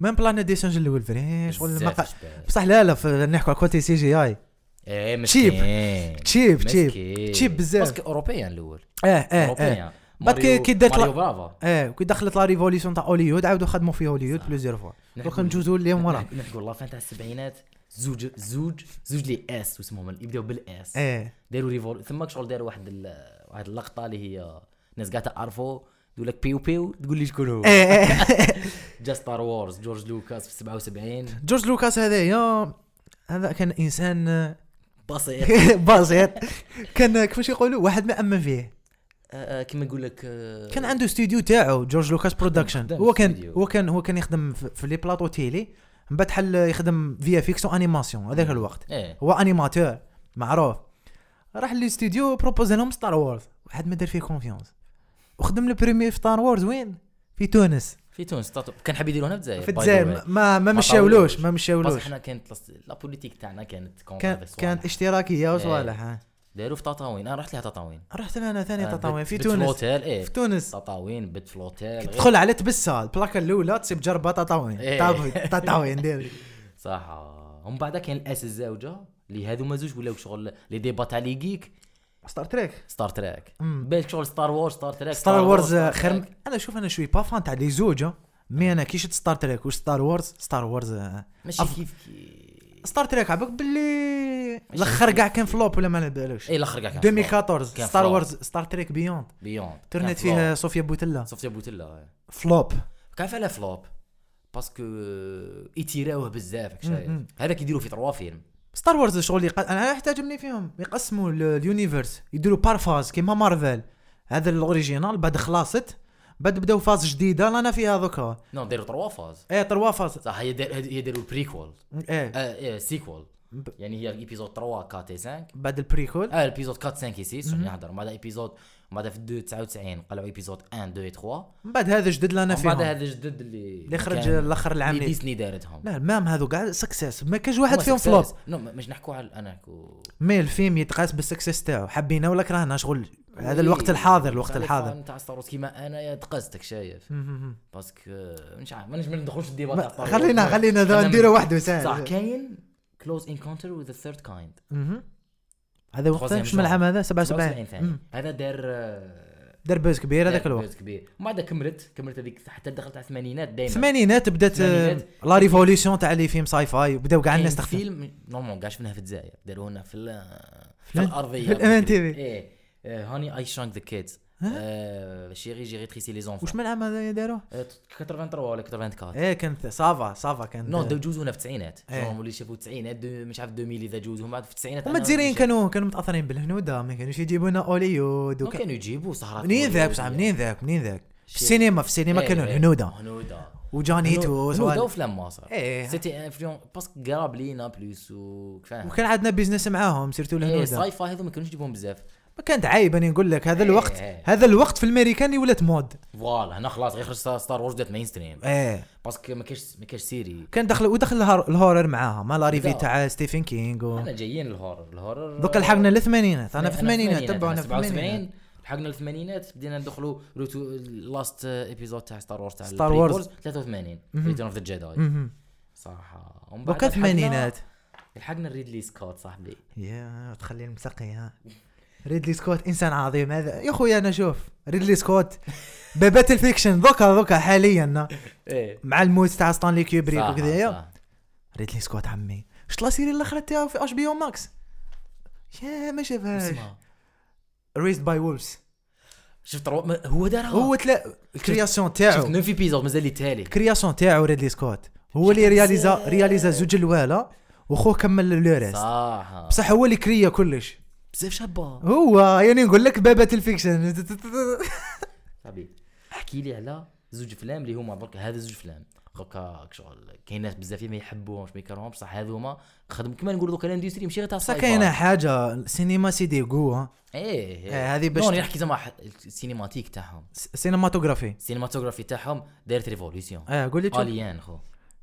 ميم بلانيت دي سانج الاول فري شغل ما
بزاف
قا-
شباب.
بصح لا لا في- نحكوا على كوتي سي جي اي
ايه
تشيب.
مسكين
تشيب، تشيب.
مسكين.
تشيب بزاف.
باسكو اوروبيان الاول
اه اه اه
اوروبيان
بعد كي-
ماريو-
كي دارت
ماريو
لا-
برافا
اه كي دخلت لا ريفوليسيون تاع هوليوود عاودوا خدموا في هوليوود بلوزيور فوا دوكا نجوزو ليهم ورا
نحكوا نحكوا لافان تاع السبعينات زوج زوج زوج لي اس واسمهم يبداو بالاس
اه
داروا ريفول ثماك شغل داروا واحد ال... واحد اللقطه اللي هي الناس قاع تعرفوا يقول لك بيو بيو تقول لي شكون هو
اه اه
جا ستار وورز جورج لوكاس في 77
جورج لوكاس هذايا هذا كان انسان آه،
بسيط
بسيط كان كيفاش يقولوا واحد ما امن فيه
آه، آه، كيما يقول لك آه،
كان عنده استوديو تاعو جورج لوكاس برودكشن
خدم
هو كان
استوديو.
هو كان هو كان يخدم في في لي بلاطو تيلي من بعد حل يخدم فيا فيكس وانيماسيون هذاك الوقت
ايه
هو انيماتور معروف راح للاستوديو بروبوز لهم ستار وورز واحد ما دار فيه كونفيونس وخدم لو بريمي في ستار وورز وين في تونس
في تونس تاتو- كان حاب يديروا هنا في الجزائر
في
إيه، by the way.
الجزائر ما ما مشاولوش ما مشاولوش
بصح حنا كانت لس- لا بوليتيك تاعنا كانت إيه.
كانت كانت اشتراكيه وصوالح ها.
داروا في تطاوين انا رحت لها تطاوين
رحت انا ثاني
أنا
تطاوين
آه، بت-
في
بت
تونس
الاوتيل ايه
في تونس
تطاوين إيه. بت في الاوتيل غير-
تدخل على تبسه البلاكه الاولى تصيب جربه تطاوين
إيه.
طاب- تطاوين ديري
صح ومن بعد كاين الاس الزوجه اللي هذوما زوج ولاو شغل لي ديبا تاع لي جيك
ستار تريك
ستار تراك
أمم.
بالك شغل ستار وورز ستار تراك
ستار وورز
ستار
آه، خير
تراك.
انا شوف انا شوي با فان تاع لي زوج آه. مي انا كي شفت ستار تريك وش ستار وورز ستار وورز آه،
ماشي
أف-
كيف كيف
ستار تريك عباك باللي الاخر كاع كان فلوب ولا ما على بالوش
اي الاخر كاع إيه، كان فلوب.
2014
كان
ستار
فلوب.
وورز ستار تريك بيوند
بيوند كان
ترنت
فلوب.
فيها صوفيا بوتيلا
صوفيا بوتيلا إيه.
فلوب
كان فيها فلوب باسكو آه، يتيراوه بزاف راك
أمم.
شايف هذاك يديروا في تروا فيلم
ستار وورز شغل يق... انا أنا يحتاجبني فيهم يقسموا ال- اليونيفرس يديروا بار فاز كيما مارفل هذا الاوريجينال بعد خلاصت بعد بداو فاز جديده رانا فيها دوكا
نو داروا تروا فاز
ايه تروا فاز
صح هي دار- هي داروا البريكول
ايه
اه سيكول يعني هي ايبيزود 3 4 اي 5
بعد البريكول
اه ايبيزود 4 5 اي 6 نهضر بعد ايبيزود بعد في 2 99 قلعوا ايبيزود 1 2 3
من بعد هذا جدد لنا
من بعد
فيهم
هذا الجدد اللي
اللي خرج
كان-
الاخر العام
اللي
لي
ديزني دارتهم
لا المام هذو كاع سكسس ما كاش واحد
هما
فيهم
success.
فلوب
نو م- مش نحكوا على انا نحكوا
مي الفيلم يتقاس بالسكسس تاعو حبينا ولا كرهنا شغل
إيه،
هذا الوقت الحاضر الوقت الحاضر
نتاع ستار وورز كيما انا يا تقصتك شايف
مهم.
باسكو مش عارف مانيش ما ندخلوش في الديبات
ما-
تاع Star Wars.
خلينا خلينا
خلينا
نديرو
من-
وحده
صح
ساعه
كاين كلوز انكونتر وذ ثيرد كايند
مهم. هذا وقت
Troisième
شمن
genre.
العام هذا 77
77 ثاني
مم.
هذا دار آه،
دار بوز كبير هذاك الوقت
كبير ومن بعد كملت كملت هذيك حتى دخلت على الثمانينات دائما
الثمانينات بدات
الثمانينات.
آه، لا ريفوليسيون تاع لي فيلم ساي فاي بداو كاع الناس
كاين
تخدم
فيلم نورمالمون كاع شفناه في الجزائر داروا لنا في ال- في
في ال-
الارضيه
في ال MNTV.
ايه هاني اي شانك ذا كيدز آه، شيري جيري تريسي لي زونفون
واش من العام هذا داروه
83 ولا 84
ايه كان سافا سافا كان
نو دو جوزونا في التسعينات
إيه.
نورمالمون اللي شافوا التسعينات دو- مش عارف 2000 اذا جوزهم بعد في التسعينات
هما الجزائريين كانوا كانوا متاثرين بالهنوده ما كانوش يجيبونا اوليود وكا-
كانوا يجيبوا إيه، سهرات
منين ذاك
بصح
بصح منين ذاك منين ذاك في
شي-
السينما في السينما كانوا الهنوده
هنوده
وجاني توس
هنوده
وهذا.
وفلام مصر
إيه.
سيتي انفلون باسكو قراب لينا بلوس و فاهم
وكان عندنا بيزنس معاهم سيرتو
إيه،
الهنوده
ساي فاي هذو ما كانوش يجيبوهم بزاف
ما كانت عايبه أنا نقول لك هذا
إيه.
الوقت هذا الوقت في الامريكان اللي ولات مود
فوالا هنا خلاص غير خرج ستار وورز بدات ماين ستريم
ايه
باسكو ما كاش ما كاش سيري
كان دخل ودخل الهار- الهورر معاها مع لاريفي
بدأوا.
تاع ستيفن كينغ و...
احنا جايين للهورر الهورر
دوك لحقنا للثمانينات انا
أنا
في الثمانينات تبعونا في
77
الثمانينات
لحقنا الثمانينات بدينا ندخلوا روتو لاست ايبيزود تاع ستار وورز تاع
Star
البريكولز،
Wars.
83 ريتيرن اوف ذا جيداي
مهم.
صح ومن بعد
دوك الثمانينات
لحقنا- لحقنا ريدلي سكوت صاحبي
يا تخلي المسقي ها ريدلي سكوت انسان عظيم هذا يا خويا انا شوف ريدلي سكوت باباتل فيكشن دوكا دوكا حاليا
ايه
مع الموت تاع ستانلي كيوبريك
صح،
وكذايا
صح.
ريدلي سكوت عمي شت لا سيري الاخرى تاعو في اش بي او ماكس يا ما شافهاش
اسمها.
ريزد باي وولفز
شفت رو... ما- هو دارها
هو تلا الكرياسيون تاعو
آه. شفت 9 ايبيزود مازال التالي
الكرياسيون تاعو ريدلي سكوت هو اللي رياليزا رياليزا زوج الوالا وخوه كمل لو ريست
صح
بصح هو اللي كريا كلش
بزاف شابه
هو يعني نقول لك بابات الفيكشن
صاحبي احكي لي على زوج افلام اللي هما درك هذا زوج افلام درك شغل كاين ناس بزاف ما يحبوهمش ما يكرهمش بصح هذوما خدم كما نقولوا دوك الاندستري ماشي غير تاع
بصح
sci-fi.
كاينه حاجه السينما سيدي قوة
ايه
إيه، هذه باش
نو،
ت-
انا نحكي زعما ح- السينماتيك تاعهم
سينماتوغرافي
السينماتوغرافي تاعهم دارت ريفولوسيون
اه قول لي تشوف.
اليان خو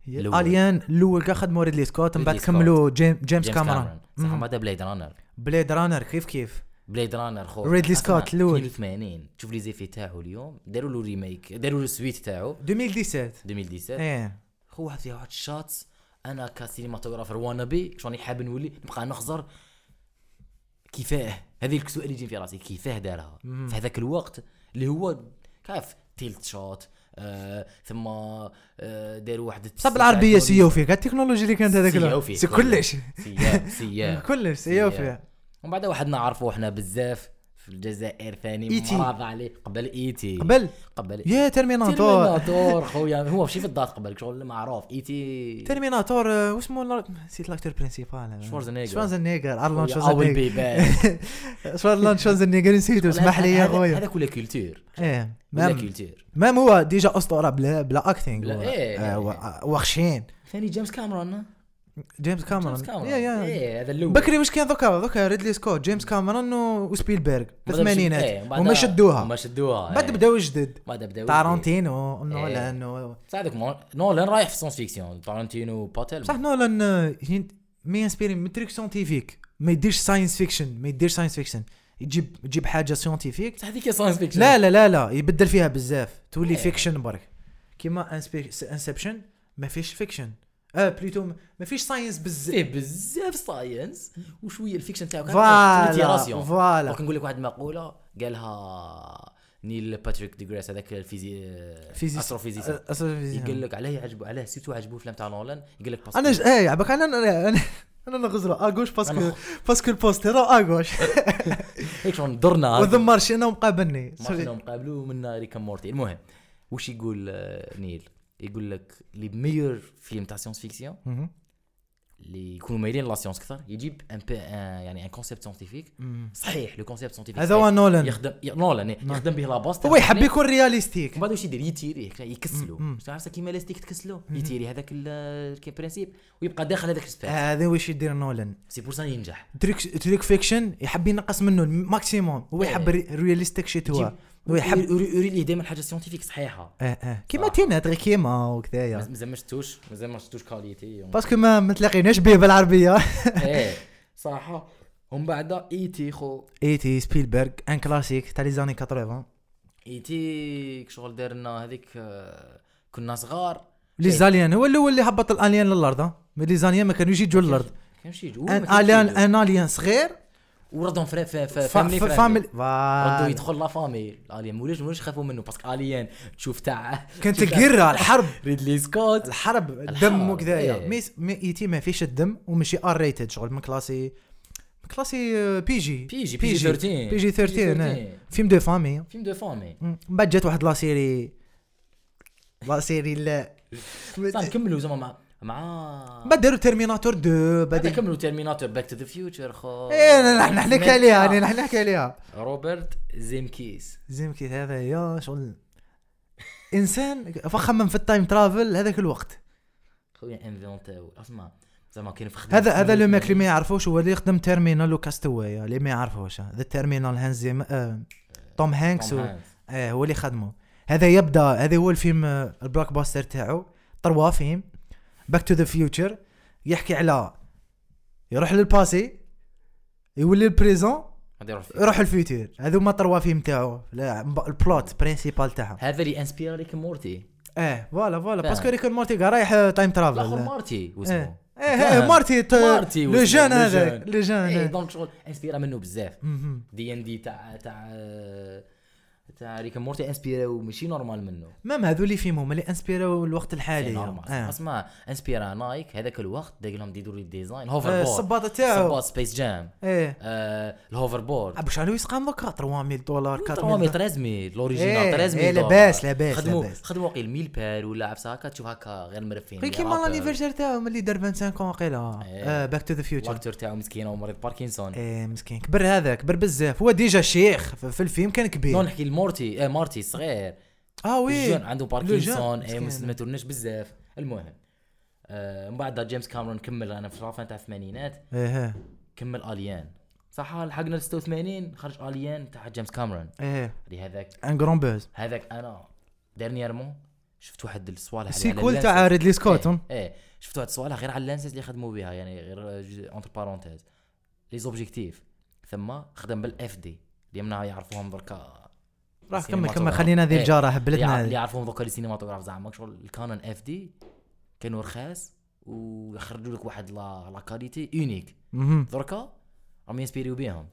الأول.
الين الاول كان خدموا ريدلي سكوت من بعد
ريدلي سكوت.
كملوا جيم جيمس
جيمس
كاميرون
كاميرون صح هذا بليد رانر
بليد رانر كيف كيف
بليد رانر خو
ريدلي
أصلاً
سكوت الأول.
82 تشوف لي زيفي تاعو اليوم داروا له ريميك داروا له سويت تاعو
أه. 2017
2017
ايه
هو واحد فيها واحد الشات انا كسينماتوغرافر وانبي شوني حاب نولي نبقى نخزر كيفاه هذه السؤال اللي يجي في راسي كيفاه دارها في هذاك الوقت اللي هو كاف تيلت شوت آه ثم آه داروا واحد
بصح بالعربيه سيو فيه كاع التكنولوجيا اللي كانت هذاك
سيو
الوقت.
فيه
سي كلش
سياب سياب
كلش سيو فيه
ومن بعد واحد نعرفوا احنا بزاف في الجزائر ثاني
إيتي.
مراض عليه قبل ايتي
E قبل
قبل E
يا ترميناتور
تيرميناتور خويا هو ماشي في الدات قبل شغل معروف ايتي
ترميناتور آه، واسمو الار- نسيت لاكتور برينسيبال
شوارزنيغر.
شوارزنيغر ارلون
Oh, I will
شوارزنيغر
be back.
ارلون شوارزنيغر نسيتو اسمح لي يا
هذا-
خويا
هذا كل كولتور
ايه
ولا
مام
كولتور
مام هو ديجا اسطوره بلا بلا اكتينغ
بلا-
هو.
إيه.
آه، و- وخشين
ثاني جيمس كاميرون
جيمس
جيمس
كاميرون
كاميرون
يا يا
ايه هذا الاول
بكري واش كان دوكا دوكا ريدلي سكوت جيمس كاميرون و- وسبيلبرغ في
بعد
الثمانينات
إيه، بعد-
هما
هما
شدوها
شدوها
بعد بداو جدد
بعد بداو
تارانتينو
إيه.
نولان و-
بصح هذاك مون- نولان رايح في سونس فيكسيون تارنتينو باتل
euh, بصح نولان آه، ين- مي انسبيري من تريك سونتيفيك ما يديرش ساينس فيكشن ما يديرش ساينس فيكشن يجيب يجيب حاجه سيونتيفيك
بصح هذيك ساينس فيكشن
لا لا لا لا يبدل فيها بزاف تولي
إيه.
فيكشن برك كيما انسبشن ما فيش فيكشن اه بليتو ما- ما فيش ساينس بزاف
فيه بزاف ساينس وشويه الفيكشن تاعو
فوالا فوالا
دونك نقول لك واحد المقوله قالها نيل باتريك دي جراس هذاك الفيزي
فيزيس-
استروفيزيسيان
آه، أستروفيزيسيان.
يقول لك علاه يعجبو علاه سيتو عجبو الفيلم تاع نولان يقول لك
انا ج... ايه عباك انا انا انا نغزرو اغوش باسكو
أنا-
باسكو البوست هيرو اغوش
هيك شلون درنا
وذا مارشي انا مقابلني
ما كانوا مقابلوا من ريكا مورتي المهم وش يقول آه، نيل يقول لك لي ميور فيلم تاع سيونس فيكسيون
مهم.
اللي يكونوا مايلين لا سيونس اكثر يجيب ان بي آه، يعني ان كونسيبت سيونتيفيك صحيح لو كونسيبت سيونتيفيك
هذا هو نولان
يخدم ي- نولان يخدم به لا باس
هو يحب يكون رياليستيك
ومن بعد واش يدير يتيري هكا
مم.
يكسلو عرفت كيما لاستيك تكسلو يتيري هذاك البرينسيپ ويبقى داخل هذاك السبيس
هذا واش يدير نولان
سي بور سا ينجح
تريك تريك فيكشن يحب ينقص منه الماكسيموم هو
إيه.
يحب رياليستيك شيت هو
يجيب-
هو يحب
يوري يوري ليه دائما حاجه سيونتيفيك صحيحه
اه اه كيما
آه.
تينات غير كيما وكذايا
مازال ما شفتوش مازال ما شفتوش كاليتي
باسكو ما ما تلاقيناش به بالعربيه
ايه صراحه ومن بعد اي تي خو
ايتي إيه، سبيلبرغ ان كلاسيك تاع لي زاني 80
اي تي شغل دار لنا هذيك آه، كنا صغار
لي
إيه.
زاليان هو الاول اللي هبط الاليان للارض ها. مي لي زاليان ما كانوش يجوا للارض
كان شي جو
ان اليان ان اليان صغير
وردهم فري في في
فا-
فاميلي
فا- آه.
فريندلي.
فاميلي فوالا.
ردوا يدخل لا فامي الاليان مولاش مولاش خافوا منه باسكو اليان تشوف تاع
كانت
تشوف تاع
القرة الحرب
ريدلي سكوت
الحرب الدم
الحرب،
وكذايا
إيه.
مي مي ايتي ما فيش الدم وماشي ار ريتد شغل من كلاسي من كلاسي آه، بي جي
بي جي بي جي 13
بي جي 13 آه. فيلم دو فامي
فيلم دو فامي
مم. من بعد جات واحد لا سيري لا سيري لا
صح
من
كملوا زعما مع مع
بعد داروا تيرميناتور 2
بعد
بعد
كملوا تيرميناتور باك تو ذا فيوتشر خو
ايه نحن نحكي عليها يعني نحن نحكي عليها
روبرت زيمكيس
زين كي هذا يا شغل انسان فخمم في التايم ترافل هذاك الوقت
خويا انفونتاو اسمع زعما كاين في خدمة
هذا هذا لو
سميتها-
ماك اللي ما يعرفوش هو اللي يخدم تيرمينال وكاستوايا اللي ما يعرفوش ذا تيرمينال هانز زيم- آه، توم هانكس
توم
و-
هانكس.
آه هو اللي خدمه هذا يبدا هذا هو الفيلم آه، البلاك باستر تاعو تروا فيلم باك تو ذا فيوتشر يحكي على يروح للباسي يولي البريزون
غادي يروح فيه.
يروح الفيوتشر هذو ما تروا فيلم تاعو لا، البلوت برينسيبال تاعهم
هذا اللي انسبيرا ريك مورتي
اه فوالا فوالا
فاهم.
باسكو ريكون مورتي كاع رايح آه، تايم
الاخر
ترافل
مارتي
إيه.
واسمه
ايه ايه مارتي ت-
مارتي
لو
واسمه،
جان
لو
هذاك
جان.
لو جان
ايه
آه.
دونك شغل انسبيرا منه بزاف
مهم.
دي ان دي تاع تاع تاع ريك مورتي انسبيرا وماشي نورمال منه
مام هذو اللي فيهم اللي انسبيراو الوقت الحالي
نورمال
آه.
اسمع انسبيرا نايك هذاك الوقت داير لهم يديروا لي ديزاين هوفر
آه،
بورد
الصباطة تاعو.
الصباط سبيس جام
ايه
آه، الهوفر بورد
عبو شحال هو يسقام هكا 300 دولار
300
400
300
إيه،
الاوريجينال 300
إيه،
دولار.
لاباس، لاباس،
خدموا
لاباس.
خدموا وقيل 1000 بال ولا عبس هكا تشوف هكا غير مرفين
غير كيما لانيفرسير تاعو ملي دار 25
إيه.
وقيلا باك تو ذا فيوتشر
الاكتور تاعو مسكين هو مريض باركنسون
ايه مسكين كبر هذا كبر بزاف هو ديجا شيخ ف- في الفيلم كان
نو
كبير
نحكي لمورتي آه مارتي الصغير
اه وي
الجون عنده باركنسون اي مسكين ما تورناش بزاف المهم آه، من بعد جيمس كامرون كمل انا في رافان تاع الثمانينات
ايه إيه.
كمل اليان صح لحقنا ال 86 خرج اليان تاع جيمس كامرون
ايه
لهذاك
ان كرون بوز
هذاك انا ديرنييرمون شفت واحد الصوالح اللي على
السيكول
اللانسز.
تاع ريدلي سكوت
إيه،
هم.
ايه شفت واحد الصوالح غير على اللانسز اللي خدموا بها يعني غير جز- اونتر بارونتيز لي زوبجيكتيف ثم خدم بالاف دي اللي منا يعرفوهم دركا
راح كمل
السينماتوغراف.
كمل خلينا هذه
إيه،
الجاره
اللي يع-
هبلتنا
اللي
هذه.
يعرفوهم دركا لي سينماتوغراف زعما شغل الكانون اف دي كانوا رخاص ويخرجوا لك واحد لا لا كاليتي يونيك
مهم.
دركا راهم ينسبيريو بيهم
راه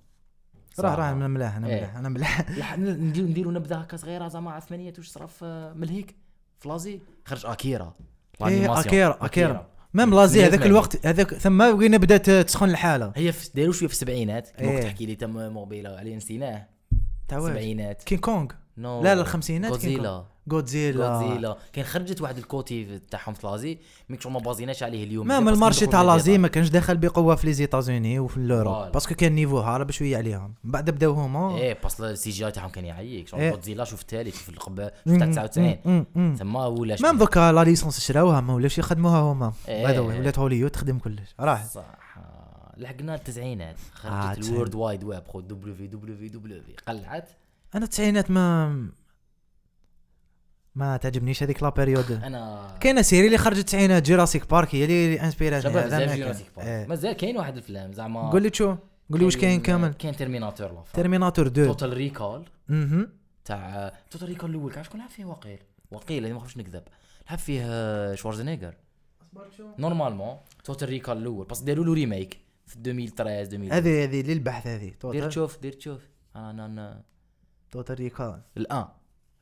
صراحة.
راه انا ملاح انا
إيه.
ملاح انا ملاح
لح- نديرو نديرو نبذه هكا صغيره زعما على ثمانية آه، واش صرا في ملهيك في لازي خرج اكيرا
ايه
الأنيماسيون.
اكيرا اكيرا مام لازي هذاك الوقت هذاك ثم بقينا بدات تسخن الحاله
هي في داروا شويه في السبعينات كيما
إيه.
كنت تحكي لي تم موبيلا علي نسيناه
تاع واش؟
السبعينات
كين كونغ
نو
لا لا الخمسينات
غودزيلا
جودزيلا
غودزيلا كان خرجت واحد الكوتي تاعهم في لازي ميك شغل ما بازيناش عليه اليوم
مام
بس
المارشي
كندخل
تاع
للبيضة.
لازي ما كانش داخل بقوه في لي زيتازوني وفي الاوروب
فوالا.
باسكو كان نيفو هارب شويه عليهم من بعد بداو هما
ايه باسل السي جي تاعهم كان يعيك شغل
إيه.
غودزيلا شوف التالي شوف القبه شوف
مم،
تاع
مم،
99
مم، مم.
تما ولا شوف-
مام دوكا لا ليسونس شراوها ما ولاش يخدموها هما
إيه.
باي ذا واي، ولات هوليود تخدم كلش راه
صح آه، لحقنا التسعينات
آه،
خرجت
تسعين.
الورد وايد ويب خو دبليو في دبليو في دبليو في قلعت
انا التسعينات ما ما تعجبنيش هذيك لا بيريود
انا
كاينه سيري اللي خرجت التسعينات جيراسيك بارك هي اللي انسبيراسيون
جابها
هذا
بزاف
ما
جوراسيك
كان.
بارك
إيه.
مازال كاين واحد الفيلم زعما
قول لي تشو قول لي واش كاين كامل
كاين تيرميناتور لافا
تيرميناتور 2
أيوة. توتال ريكول
اها
تاع توتال ريكول الاول كان شكون لعب فيه وقيل وقيل أنا ما نخافش نكذب لعب فيه آه، شوارزنيغر نورمالمون توتال ريكول الاول بس داروا له ريميك في 2013 2012
هذه هذه للبحث هذه
دير
توتال
تشوف دير آه، تشوف انا انا, أنا.
توتال ريكال
الان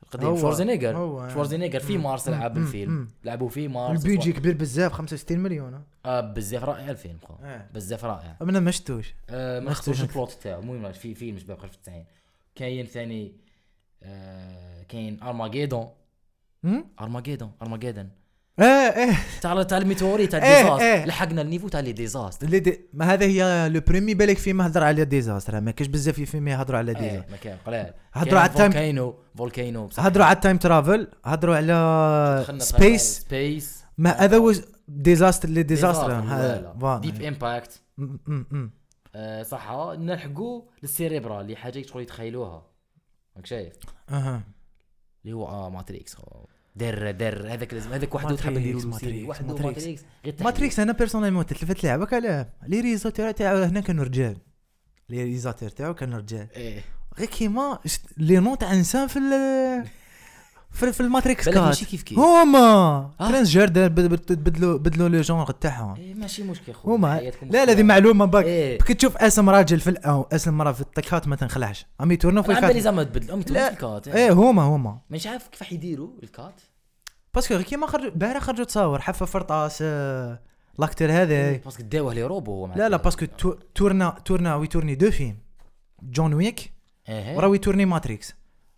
القديم
هو-
شوارزنيغر
هو-
شوارزنيغر في مارس لعب
آه. مم،
الفيلم
مم.
لعبوا في مارس
البيجي كبير بزاف 65 مليون ها.
آه بزاف رائع الفيلم خو
إيه.
بزاف رائع
انا ما شفتوش
آه، ما
ما
خسروش
خسرش.
البلوت تاعو المهم راه في فيلم شباب خرج في التسعين كاين ثاني آه، كاين ارماجيدون
مم؟
ارماجيدون ارماجيدون
اه اه
تاع تاع الميتوري تاع
إيه،
الديزاستر
إيه.
لحقنا النيفو تاع لي ديزاستر
اللي دي ما هذا هي لو بريمي بالك فيما هضر على ديزاستر ما كاش بزاف في فيلم يهضروا على ديزاستر
إيه، ما كاين قلال
هضروا
كاين
على التايم-
فولكانو فولكانو بصح
هضروا على التايم ترافل هضروا على
دخلنا في
سبيس
سبيس
ما هذا هو ديزاستر اللي ديزاستر
ديب امباكت
امم
آه، صح نلحقوا للسيريبرا اللي حاجه تقدروا يتخيلوها راك شايف
اها
اللي هو اه ماتريكس در در هذاك لازم هذاك وحده تحب
ماتريكس،
نديرو
ماتريكس،
ماتريكس وحده
ماتريكس.
ماتريكس غير تحية.
ماتريكس انا بيرسونيلمون تلفت لعبك على لي ريزاتور تاعو هنا كانوا رجال لي ريزاتور تاعو كانوا رجال
ايه
غير كيما شت- لي نون تاع انسان في ال في, في الماتريكس
بالك
كات
ماشي كيف كيف
هما
آه.
ترانس جيردر بد- بد- بدلوا بدلوا لو جونغ تاعهم
إيه، ماشي مشكل خويا
هما
حياتكم
لا لا
مشكلة.
هذه معلومه باك
إيه.
كي تشوف اسم راجل في ال- او اسم مراه في التكات ما تنخلعش عم يتورنوا في
انا على بالي
الكات
زعما تبدلهم
لا.
تبدل الكات إيه.
ايه هما هما
مش عارف كيف حيديروا الكات
باسكو غير كيما خرجوا البارح خرجوا تصاور حفه فرطاس آه، لاكتور هذا
باسكو داوه لي روبو هو مع
إيه. لا لا
الكات.
باسكو تو- تورنا تورنا ويتورني دو فيلم جون ويك
إيه.
وراو يتورني ماتريكس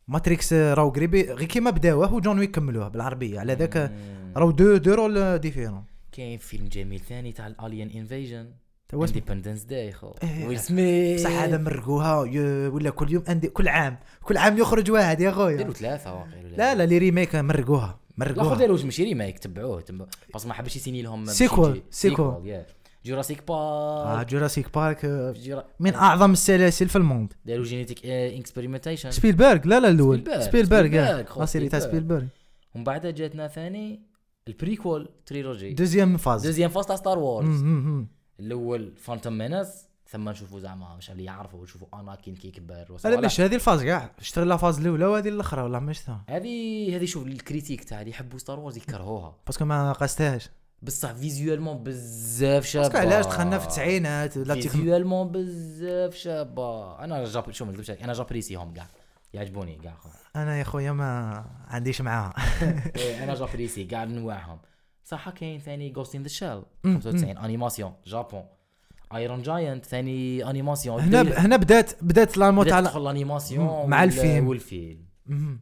ماتريكس آه، راهو قريب غير كيما بداوه وجون ويك كملوه بالعربيه على ذاك آه،
مم.
راهو دو دو رول ديفيرون
كاين فيلم جميل ثاني تاع الالين انفيجن
توا اسمه.
اندبندنس داي خو
إيه.
ويل سميث
بصح هذا مرقوها ي- ولا كل يوم أندي كل عام كل عام يخرج واحد يا
داروا
خويا
ثلاثه واقيلا
لا لا لي ريميك مرقوها
لا
مرقوها
داروا ماشي ريميك تبعوه تبعوه بس ما حبش يسيني لهم
سيكوال،
بشي-
سيكوال.
يا جوراسيك
آه
بارك
جوراسيك بارك آه،
جورا...
من اعظم السلاسل في الموند
داروا جينيتيك اكسبيرمنتيشن
سبيلبرغ لا لا الاول
سبيلبرغ،
سبيلبرغ
سبيلبرغ،
آه.
خو،
لا سيري تاع
سبيلبرغ.
سبيلبرغ
ومن بعدها جاتنا ثاني البريكول تريلوجي
دوزيام فاز
إيه. دوزيام فاز تاع ستار وورز
مم، مم.
الاول فانتوم مينس ثم نشوفوا زعما مش اللي يعرفوا نشوفوا اناكين كي كبر
انا
وصوالح.
مش هذه الفاز كاع شتري لا فاز الاولى وهذه الاخرى والله ما شفتها
هذه هذه شوف الكريتيك تاع اللي يحبوا ستار وورز يكرهوها
باسكو ما قاستهاش
بصح فيزيوالمون بزاف شابه
باسكو علاش دخلنا في التسعينات لا تكن-
فيزيوالمون بزاف شابه انا جاب شو ما نكذبش عليك، انا جابريسيهم كاع يعجبوني كاع خو
انا يا خويا ما عنديش معاها
إيه، انا جابريسي كاع نواعهم صح كاين ثاني جوست ان ذا شيل 95 انيماسيون جابون ايرون جاينت ثاني انيماسيون
هنا
بديت-
هنا بدات بدات لالموت
بديت
على
تدخل الانيماسيون
مم، مع
وال-
الفيلم.
والفيلم
مم.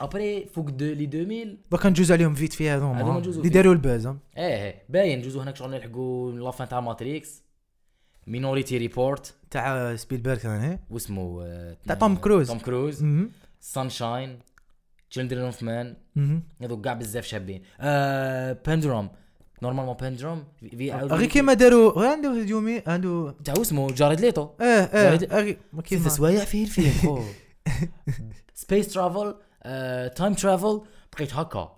ابري فوق دو لي 2000
دوكا ندوز عليهم فيت في هذوما
هذوما
ها،
ندوزو
اللي
فيت.
داروا الباز ها.
ايه إيه، باين جوزو هناك شغل نلحقوا لافان تاع ماتريكس مينوريتي ريبورت
تاع سبيلبرغ يعني. ثاني
واسمه آه،
تاع توم كروز.
توم كروز
مم.
سانشاين تشيلدرن اوف مان
مم.
هذوك كاع بزاف شابين آه بندروم نورمالمون بندروم في- في-
غير كيما داروا غير عنده هجومي عنده
تاع اسمه جارد ليتو
اه اه
زايد-
غير ما
كيف
كيف
سوايع فيه الفيلم خو سبيس ترافل تايم ترافل آه، بقيت هكا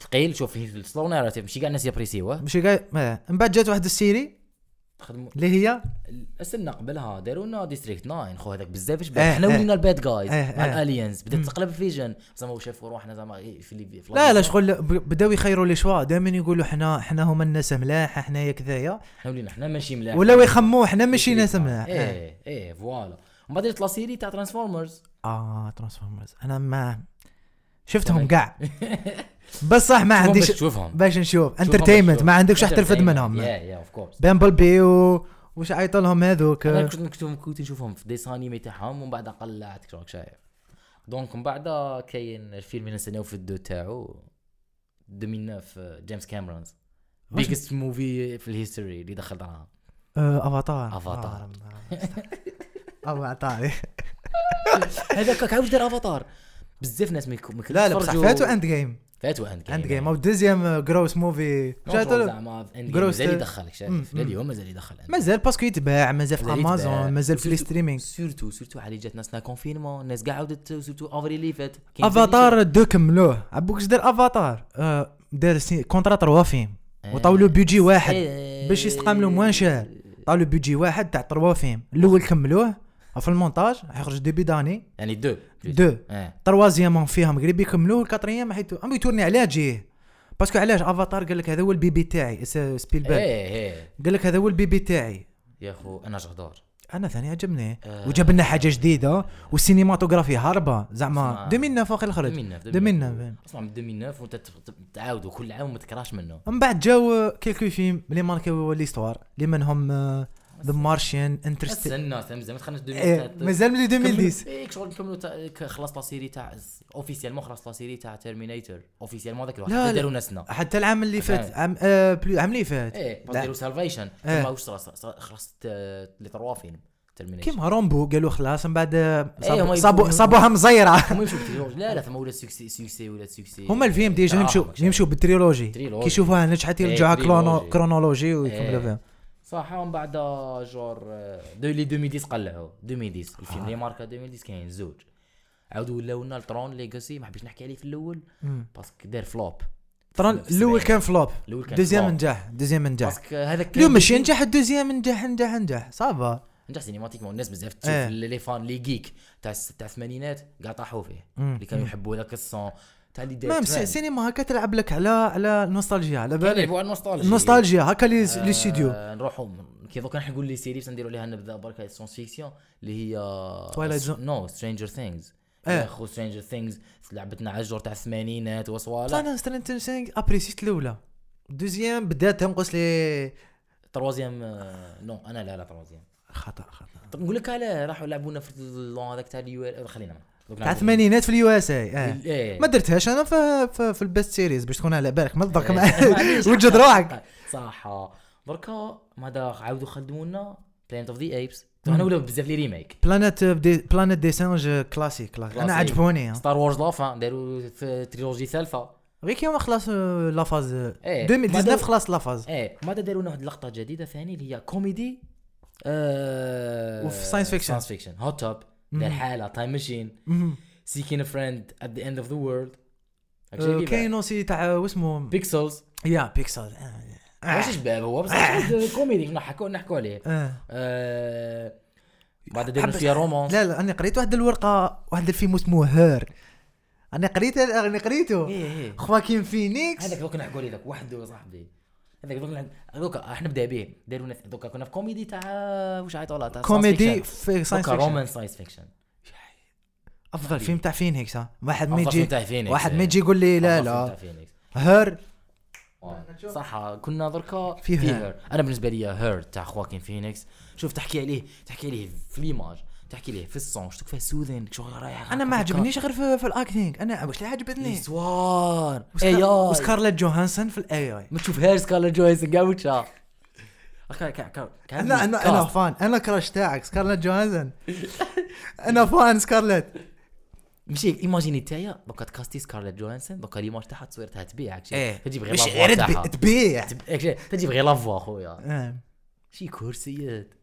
ثقيل شوف فيه السلو ناراتيف ماشي كاع الناس يابريسيوه
ماشي كاع ما- من بعد جات واحد السيري
خدموا
اللي هي
استنى قبلها داروا لنا ديستريكت 9 خو هذاك بزاف شباب
إيه،
حنا
إيه.
ولينا الباد جايز
إيه،
مع
إيه.
الالينز بدات تقلب فيجن زعما شافوا روحنا زعما إيه، في اللي في
لا لا شغل ب- بداو يخيروا لي شوا دائما يقولوا حنا حنا هما الناس ملاح حنايا كذايا
حنا ولينا حنا ماشي ملاح
ولاو يخموا حنا ماشي
District
ناس
9.
ملاح اه.
ايه ايه فوالا ومن بعد جات لا سيري تاع ترانسفورمرز
اه ترانسفورمرز انا ما شفتهم كاع بصح ما
عنديش
عنديش
تشوفهم
باش نشوف
شوفهم باش
انترتينمنت
تشوف.
ما عندكش واحد ترفد
Entertainment.
منهم
يا يا اوف كورس
بامبل بي و وش عيطوا لهم هذوك
انا كنت كنت كنت نشوفهم في ديس انيمي تاعهم ومن بعد قلعت راك شايف دونك من بعد كاين الفيلم اللي نستناو في الدو تاعو 2009 جيمس كاميرونز
واش-
بيجست موفي في الهيستوري اللي دخل دراهم
آه، افاتار
أفاتار.
آه، افاتار
هذاك عاوج دار افاتار بزاف ناس ما يك- ما
لا لا بصح
يتفرجوا.
فاتوا اند جيم
فات واند جيم
اند جيم او دوزيام جروس موفي
زعما اند جيم
Gross
مازال
Third.
يدخلك شايف
مم.
لليوم مازال يدخل
مازال باسكو يتباع مازال في
مازال يتباع.
امازون مازال في لي
وسيرتو-
ستريمينغ
سيرتو سيرتو حالي جات ناسنا كونفينمون الناس كاع عاودت سيرتو افريل اللي فات كاين
افاتار دو كملوه عبوك اش دار افاتار آه، دار سي- كونترا تروا فيلم
آه.
وطاو له بيجي واحد
إيه.
باش يستقاملوا موان شهر طاو له بيجي واحد تاع تروا فيلم الاول كملوه في المونتاج حيخرج ديبي داني
يعني دو
دو
اه
تروازيام فيها مغربي كملوه الكاتريام حيت عم يتورني علاه جيه باسكو علاش افاتار قال لك هذا هو البيبي تاعي س- سبيلبرغ
ايه ايه
قال لك هذا هو البيبي تاعي
يا خو انا جهدار
انا ثاني عجبني
آه.
وجاب لنا حاجه جديده والسينماتوغرافي هاربه زعما
اسمع.
2009 واخا خرج
2009
2009.
اصلا من 2009 وانت تف- تعاودوا كل عام وما تكرهش منه
من بعد جاو كيلكو فيلم اللي ماركاو ليستوار اللي منهم آه، ذا مارشين انترست
استنى استنى مازال ما دخلناش 2013
إيه، مازال من 2010
ايه شغل نكملوا تا- ك- خلص لا سيري تاع اوفيسيالمون خلص لا سيري تاع تيرمينيتور اوفيسيالمون هذاك الوقت
لا، لا.
داروا ناسنا
حتى العام اللي
العام.
فات عام آه، بلو- عام اللي فات
ايه
لا.
بس داروا سالفيشن
إيه.
ثم واش صرا صرا- صرا- خلصت آه، لي تروا فيلم تيرمينيتور
كيما رومبو قالوا خلاص من بعد آه،
إيه،
صابو-
هما يبقوا-
صابو صابوها مزيره
هما يمشوا بالتريلوجي لا لا ثم ولا سكسي سكسي ولا سكسي
هما الفيلم ديجا
آه،
يمشوا
ماشي.
يمشوا بالتريلوجي
تريلوجي.
كي يشوفوها نجحت
إيه،
يرجعوها كلونو-
تريلوجي.
كرونولوجي ويكملوا
إيه.
فيها
صح ومن بعد جور آه، دو لي 2010 قلعوا 2010 الفيلم
آه.
اللي ماركا 2010 كاين زوج عاودوا ولاو لنا لترون ليغاسي ما حبيتش نحكي عليه في الاول باسكو دار فلوب
طران
في
الاول
السبعين.
كان فلوب
الأول كان
دوزيام
فلوب.
نجاح دوزيام نجاح
باسكو هذاك
لو طيب. ماشي نجح الدوزيام نجح نجح نجح صافا
نجح سينيماتيكمون الناس بزاف تشوف
إيه.
لي فان لي جيك تاع الس- تاع الثمانينات كاع طاحوا فيه
مم.
اللي كانوا يحبوا هذاك السون تاع اللي داير
مام
ترند.
السينما هكا تلعب لك على على النوستالجيا على
كانوا
بالك
يلعبوا على النوستالجيا
النوستالجيا هكا لي لي ستوديو
آه، نروحوا كي دوكا نحكوا لي سيري باش نديروا عليها نبدا برك سونس فيكسيون اللي هي
Twilight Zone.
نو سترينجر ثينجز
آه.
يا خو سترينجر ثينجز لعبتنا على الجور تاع الثمانينات وصوالح
انا سترينت سينغ ابريسيت الاولى دوزيام بدات تنقص لي
تروازيام آه، نو انا لا لا تروازيام
خطا خطا
طب نقول لك علاه راحوا لعبونا في اللون هذاك تاع اليو خلينا دوك
تاع
نعرفوا.
الثمانينات في اليو اس اي آه.
إيه.
ما درتهاش انا في, في, في البيست سيريز باش تكون على بالك ما تضحك
إيه، معليش.
وجد
آه،
روحك
صح بركا ماذا عاودوا خدمونا بلانت اوف ذا ايبس انا ولا بزاف لي ريميك
بلانيت بلانيت دي سانج كلاسيك انا
كلاسيك.
عجبوني آه.
ستار وورز لافان داروا في تريلوجي ثالثه
غير كيما خلاص آه، لا فاز آه،
إيه.
2019
بعد-
خلاص لا فاز
ايه ماذا داروا لنا واحد اللقطه جديده ثاني اللي هي كوميدي آه
وفي science fiction.
ساينس فيكشن هوت توب دار حاله تايم ماشين
مهم.
سيكين فريند ات ذا اند اوف ذا وورلد
آه، كاين اوسي تاع واسمه
بيكسلز
يا بيكسل آه،
ماشي شباب هو بس واحد كوميدي نحكوا نحكوا عليه آه، بعد داروا
حبس-
فيها رومانس
لا لا انا قريت واحد الورقه واحد الفيلم اسمه هير انا قريت انا قريته
ايه ايه
خواكين فينيكس
هذاك دوك نحكوا عليه ذاك وحده صاحبي هذاك دوك نحك- دوك راح نبدا به داروا لنا- دوك كنا في كوميدي تاع واش عيطوا لها تاع science
كوميدي
fiction.
في ساينس
دوكا
فيكشن
رومان ساينس فيكشن
افضل فيلم تاع فينيكس ها واحد ما
أفضل فيلم
يجي
تاع فينيكس،
واحد
إيه.
ما يجي يقول لي لا
أفضل
لا
فيلم تاع فينيكس.
هير
صح كنا دركا
في
في
Her.
هير انا بالنسبه لي هير تاع خواكين فينيكس شوف تحكي عليه تحكي عليه في ليماج تحكي عليه في السون شتوك فيه سوذن شغل رايح
انا ما عجبنيش غير في, في الاكتينغ انا واش اللي عجبتني
السوار
وسكار-
اي اي
وسكارلت جوهانسون في الاي اي
ما تشوف هير سكارلت جوهانسون كاع وشها كا- كا- كا- كا-
انا انا انا
كاست.
فان انا كراش تاعك سكارلت جوهانسون انا فان سكارلت
ماشي ايماجيني تاعي دوكا تكاستي سكارلت جوهانسون دوكا ليماج تاعها تصوير تاعها تبيعك تجيب غير
إيه. مش
لافوا
غير تبيع-
تاعها
تبيع
تب- إيك شي، تجيب غير لافوا خويا
آه.
شي كرسيات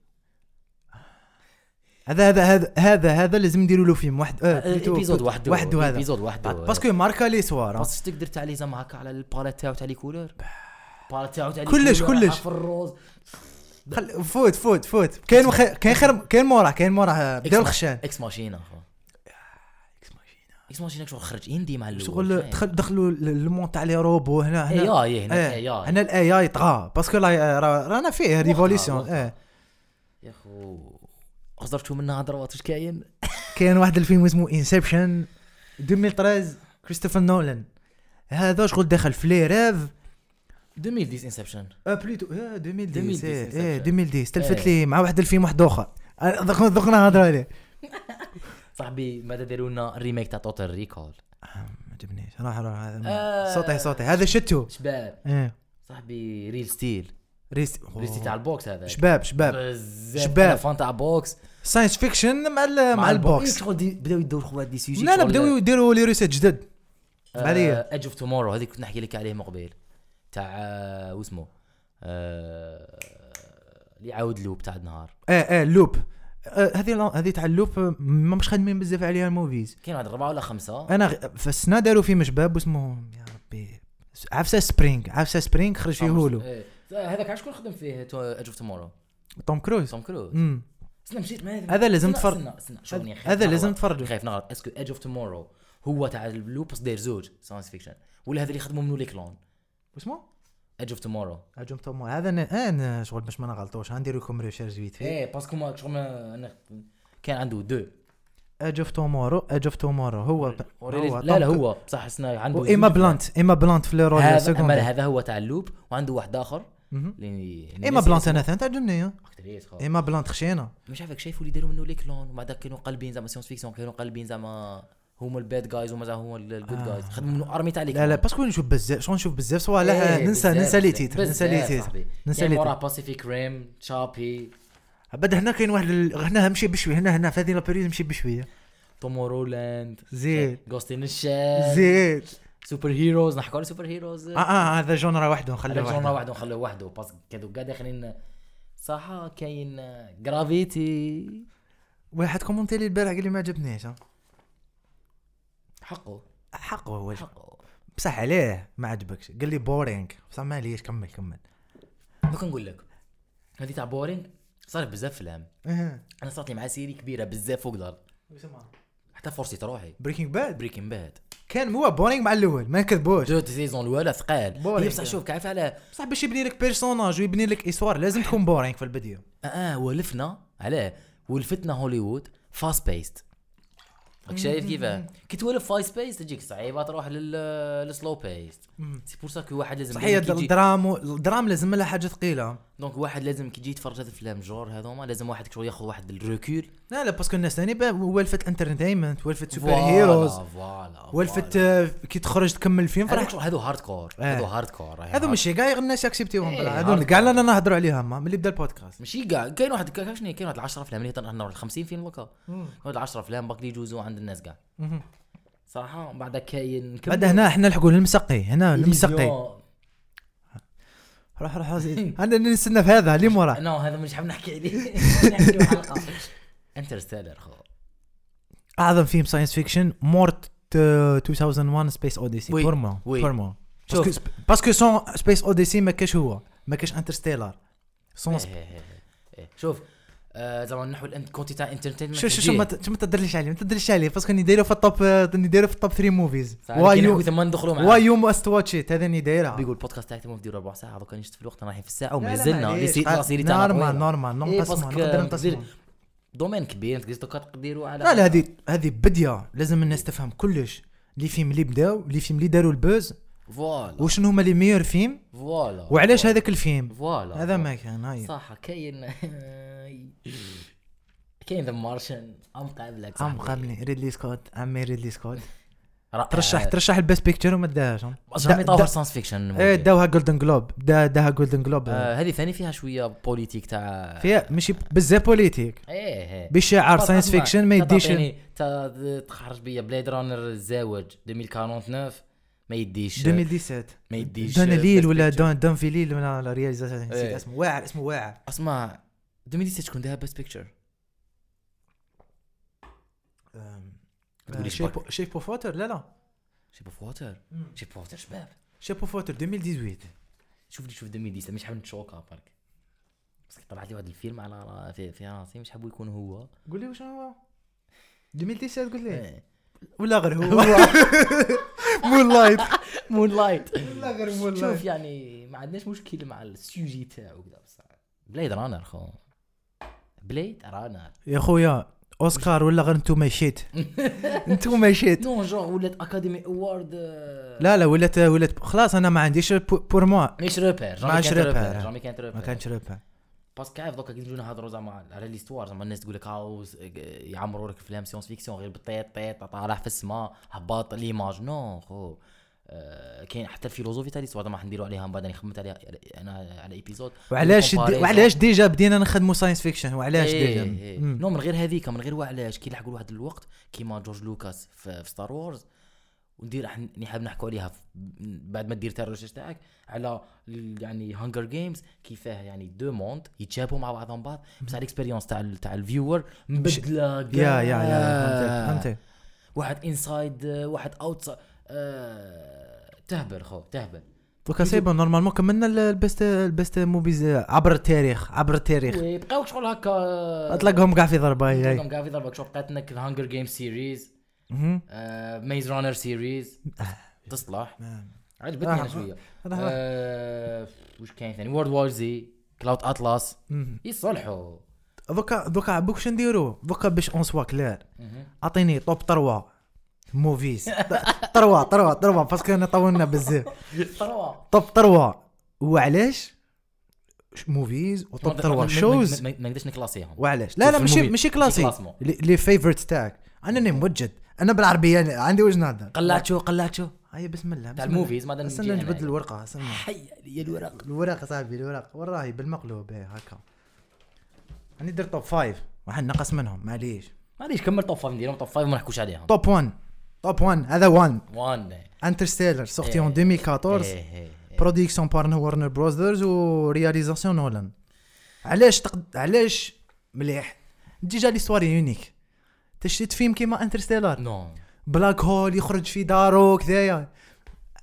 هذا هذا هذا هذا هذا لازم نديروا له فيلم واحد آه، بليتو-
ايبيزود وحده
وحده هذا
ايبيزود وحده
بعد- باسكو ماركا لي سوار
بس تقدر تعلي زعما هكا على البالات تاعو تاع لي كولور البالات تاعو تاع لي
كلش-
كولور،
كلش.
عارف الروز
خل... فوت فوت فوت كاين مخ... كاين خير كاين موراه كاين موراه
إكس
بداو
ما-
الخشان
اكس ماشينا خو. اكس ماشينا شغل خرج اندي مع الاول
شغل دخل دخلوا ل- المون تاع لي روبو هنا
اي
هنا
اي هنا
آه،
اي اي
هنا الاي اي طغى باسكو لا- را- euh, رانا فيه ريفوليسيون
وقتها.
اه
يا خو خزرتو منها هضرات واش كاين
كاين واحد الفيلم اسمه انسبشن 2013 كريستوفر نولان هذا شغل دخل في لي ريف
2010 انسبشن
اه بليتو اه 2010
2010
إيه، ايه
Inception.
2010 تلفت
إيه.
لي مع واحد الفيلم واحد اخر آه، دوك دوك نهضر عليه
صاحبي ماذا داروا لنا الريميك تاع توتال ريكول
آه، ما عجبنيش راح راح هذا ما-
آه.
صوتي صوتي هذا شتو
شباب
ايه
صاحبي ريل ستيل
ريس
ريل ستيل تاع البوكس هذا
شباب
آه.
شباب
بزاف
شباب.
أنا فان تاع بوكس
ساينس فيكشن مع ال- مع
البوكس
البوكس
شغل دي- بداو يدور خوات دي سيجي
لا لا بداو يديروا لي ريسيت جدد بالي.
ايدج اوف تومورو هذيك كنت نحكي لك عليه من قبيل تاع آه، واسمه آه، اللي يعاود لوب تاع النهار
اه اه لوب آه، هذه لا- هذه تاع اللوب آه، ما مش خدمين بزاف عليها الموفيز
كاين واحد اربعه ولا خمسه
انا غ- في السنه داروا فيلم شباب واسمه يا ربي عفسه سبرينغ عفسه سبرينغ خرج فيه هولو
إيه. هذاك عارف شكون خدم فيه ايدج اوف تومورو
توم كروز
توم كروز
امم
استنى مشيت ما
هذا لازم
استنى-
تفرج.
استنى استنى شوفني خايف
هذا
نغلط.
لازم تفرجوا
خايف نغلط اسكو ايدج اوف تومورو هو تاع اللوبس داير زوج ساينس فيكشن ولا هذا اللي خدموا منو لي كلون
واسمه
ايدج اوف تومورو
هجوم توم هذا انا انا شغل باش ما نغلطوش غندير لكم ريشيرش فيت في
ايه باسكو ما شغل ما- انا كان عنده دو
اج اوف آه، تومورو اج اوف تومورو هو إيه،
لا لا هو بصح سنا عنده
ايما
زوج.
بلانت ايما بلانت في لي رول
هذا أما
سكوند
هذا هو تاع اللوب وعنده واحد يعني اخر
مهم.
اللي
ايما بلانت انا ثاني تعجبني ها. ايما بلانت خشينه
مش عارفك شايفوا اللي داروا منه لي كلون وبعد كانوا قلبين زعما سيونس فيكسيون كانوا قلبين زعما هما الباد جايز وما زعما هما الجود
آه.
جايز خدموا منه ارمي تاع لي
لا لا
كلون.
باسكو نشوف بزاف شغل نشوف بزاف صوالح
إيه،
ننسى
بزاف،
ننسى لي
بزاف.
تيتر ننسى لي
بزاف
تيتر
صاحبي.
ننسى
يعني
لي
وراه باسيفيك ريم تشابي
بعد هنا كاين واحد ال- هنا مشي بشويه هنا هنا في هذه لابيريود مشي بشويه
تومورو لاند
زين
جوست ان الشال
زيد
سوبر هيروز نحكوا على سوبر هيروز
اه اه هذا جونرا وحده
خليه
نخليه
جونرا
وحده
وحده نخليه وحده باسكو كادو كاع داخلين صح كاين آه، جرافيتي
واحد كومونتي لي البارح قال لي ما عجبنيش آه، ها.
حقه
حقه هو
حقه
بصح عليه ما عجبكش قال لي بورينغ بصح ما ليش كمل كمل
دوك نقول لك هذه تاع بورينغ صار بزاف فيلم انا صارت لي مع سيري كبيره بزاف فوق الارض حتى فرصي روحي
بريكنج باد
بريكين باد
كان هو بورينغ مع الاول ما نكذبوش
دو سيزون الاولى ثقال
بورينغ.
هي بصح شوف كيف على
بصح باش يبني لك بيرسوناج ويبني لك اسوار لازم تكون بورينغ في البدايه
اه, آه ولفنا علاه ولفتنا هوليوود فاست بيست راك شايف كيفاه كي تولف فاست بيست تجيك صعيبه تروح لل السلو بيست سي بور سا كو واحد لازم
صحيح
دايماً كي يجي-
الدرام و- الدرام لازم لها حاجه ثقيله
دونك واحد لازم كي يجي يتفرج هذا الافلام جور هذوما لازم واحد شويه ياخذ واحد الريكول
لا لا باسكو الناس ثاني با- ولفت انترتينمنت ولفت سوبر هيروز
فوالا
ولفت آه، كي تخرج تكمل فيلم فرح
هذوك هذو هارد كور
آه.
هذو هارد كور
هذو ماشي كاع الناس ياكسبتيهم
إيه،
بلا. هذو
عارف.
كاع رانا نهضروا عليهم ما، ملي بدا البودكاست
ماشي كاع كاين واحد كاع شنو كاين واحد 10 افلام اللي تنهضر 50 فيلم هكا واحد 10 افلام باك اللي يجوزوا عند الناس كاع
مهم.
صراحه من بعد كاين نكمل.
بعد هنا احنا نلحقوا المسقي هنا
إليزيون.
المسقي روح روح زيد. انا نستنى في هذا اللي موراه
نو هذا مش حاب نحكي عليه نحكي حلقه انترستيلر خو
اعظم فيلم ساينس فيكشن مورت 2001 سبيس اوديسي
وي،
بور موا
وي.
بور موا
شوف.
باسكو- باسكو سون سبيس اوديسي ما كاش هو ما كاش انترستيلر سون
إيه، إيه، إيه، إيه. شوف آه، زعما نحو الأنت- كونتي تاع انترتينمنت
شو شو شو ما ت- شو ما تدرليش عليه ما تدرليش عليه باسكو اني دايره في التوب آه، اني دايره في التوب 3 موفيز
واي يو
وايو
ثم ندخلوا معاه
وايو ماست واتش ات هذا اني دايرها
بيقول البودكاست تاعك تمام ديروا ربع ساعه دوكا نشت في الوقت رايحين في الساعه
لا،
وما
لا،
زلنا
معليش.
ليسي-
قا-
لاسيري تاعنا
نورمال
طويلة.
نورمال
إيه،
نقسمه
باسكو
نقدر
ندير
نقسمه
دومين كبير انت قصدك تقدروا على
لا لا هذه هذه بديه لازم الناس تفهم كلش لي فيلم اللي بداو لي فيلم اللي داروا البوز
فوالا
وشنو هما لي ميور فيلم
فوالا
وعلاش هذاك الفيلم
فوالا
هذا ما كان هاي
صح كاين كاين ذا مارشن ام قابلك
عم قبلي ريدلي سكوت عمي ريدلي سكوت
راه-
ترشح
آه،
ترشح البيست بيكتشر وما داهاش
بس رامي طاهر
دا-
ساينس فيكشن
ايه
موفي.
داوها جولدن جلوب دا داها جولدن جلوب
آه، هذه ثاني فيها شويه بوليتيك تاع
فيها ماشي بزاف بوليتيك
ايه ايه
بشعار ساينس
اسمع،
فيكشن ما
تا
يديش
تعطيني- تا تخرج بيا بليد رانر الزاوج 2049 ما يديش
2017
ما يديش
دون ليل
بيرسبكتيف.
ولا دون دون في ليل ولا لا رياليزاتور نسيت
إيه.
اسمه واعر اسمه واعر
اسمع 2017 تكون داها بيست بيكتشر تقولي شباك.
شيب اوف ووتر لا لا
شيب اوف ووتر شيب اوف ووتر شباب
شيب اوف ووتر 2018
شوف لي شوف 2017 مش حاب نتشوكا برك بس كي طلعت لي واحد الفيلم على را- في, في راسي مش حاب يكون هو
قول لي وشنو هو 2017 قول لي
إيه.
ولا غير هو مون لايت
مون لايت
ولا غير مون لايت
شوف يعني ما عندناش مشكل مع السوجي تاعو كذا بصح بليد رانر خو بليد رانر
يا خويا اوسكار ولا غير انتم شيت انتم شيت
نو جونغ ولات اكاديمي اوورد
لا لا ولات ولات خلاص انا ما عنديش بو- بور موا
مش روبير جامي
ماش
كانت
ريبير.
روبير جامي كانت
ما
روبير
كانش ربح
باسكو عارف دوكا كي نجيو نهضروا زعما على ليستوار زعما الناس تقول لك هاو يعمروا لك افلام سيونس فيكسيون غير بطيط طيط طالع في السماء هباط ليماج نو خو آه، كاين حتى الفيلوزوفي تاع ليستوار زعما راح نديروا عليها من بعد راني خممت عليها انا على ايبيزود
وعلاش دي إيه، وعلاش ديجا بدينا نخدموا ساينس فيكشن وعلاش
إيه،
ديجا مم.
نو من غير هذيك من غير وعلاش كي لحقوا لواحد الوقت كيما جورج لوكاس في ستار وورز وندير احنا اللي حاب نحكوا عليها ف- بعد ما دير انت الريسيرش تاعك على ال- يعني هانجر جيمز كيفاه يعني دو موند يتشابهوا مع بعضهم بعض بصح الاكسبيريونس تاع ال- تاع الفيور مبدله
يا يا يا
قاع.
فهمتك فهمتك
واحد انسايد واحد اوتسايد تهبل خو تهبل
دوكا سي بون نورمالمون كملنا ال- البيست البيست موفيز عبر التاريخ عبر التاريخ
ويبقاو شغل هكا
تلاقهم كاع في ضربه هي هي.
تلاقيهم قاع في ضربك شغل بقات لك الهانجر جيم سيريز
مهم.
ميز رانر سيريز تصلح عجبتني انا شويه
أنا-
آه، وش كاين ثاني وورد وور زي كلاود اتلاس
مهم.
يصلحوا
دوكا دوكا عبوك شنو نديرو دوكا باش اون سوا كلير اعطيني توب تروا موفيز تروا تروا تروا باسكو انا طولنا بزاف
تروا
توب تروا وعلاش ش- موفيز وتوب تروا شوز
ما ما نقدرش نكلاسيهم
وعلاش لا لا
في
ماشي
الموفي.
ماشي
في
كلاسي
كلاسمون.
لي- لي فيفورتس تاعك انا راني موجد انا بالعربيه أنا عندي وجه نهضر
قلاتشو قلاتشو
هيا بسم الله
تاع
بسم الله.
الموفيز بعد نجي
استنى
أنا.
نجبد الورقه استنى
حي عليا الورق
الورق صاحبي الورق وراهي بالمقلوب إيه، هكا راني درت توب فايف واحد نقص منهم معليش
معليش كمل توب فايف نديرهم توب فايف وما نحكوش عليهم
توب 1 توب 1 هذا 1
وان
انترستيلر سورتي
إيه.
اون 2014
إيه، إيه، إيه.
برودكسيون بارن ورنر براذرز ورياليزاسيون نولان علاش تقد... علاش مليح ديجا ليستوار يونيك تشتيت فيلم كيما انترستيلر
نو
بلاك هول يخرج في دارو كذايا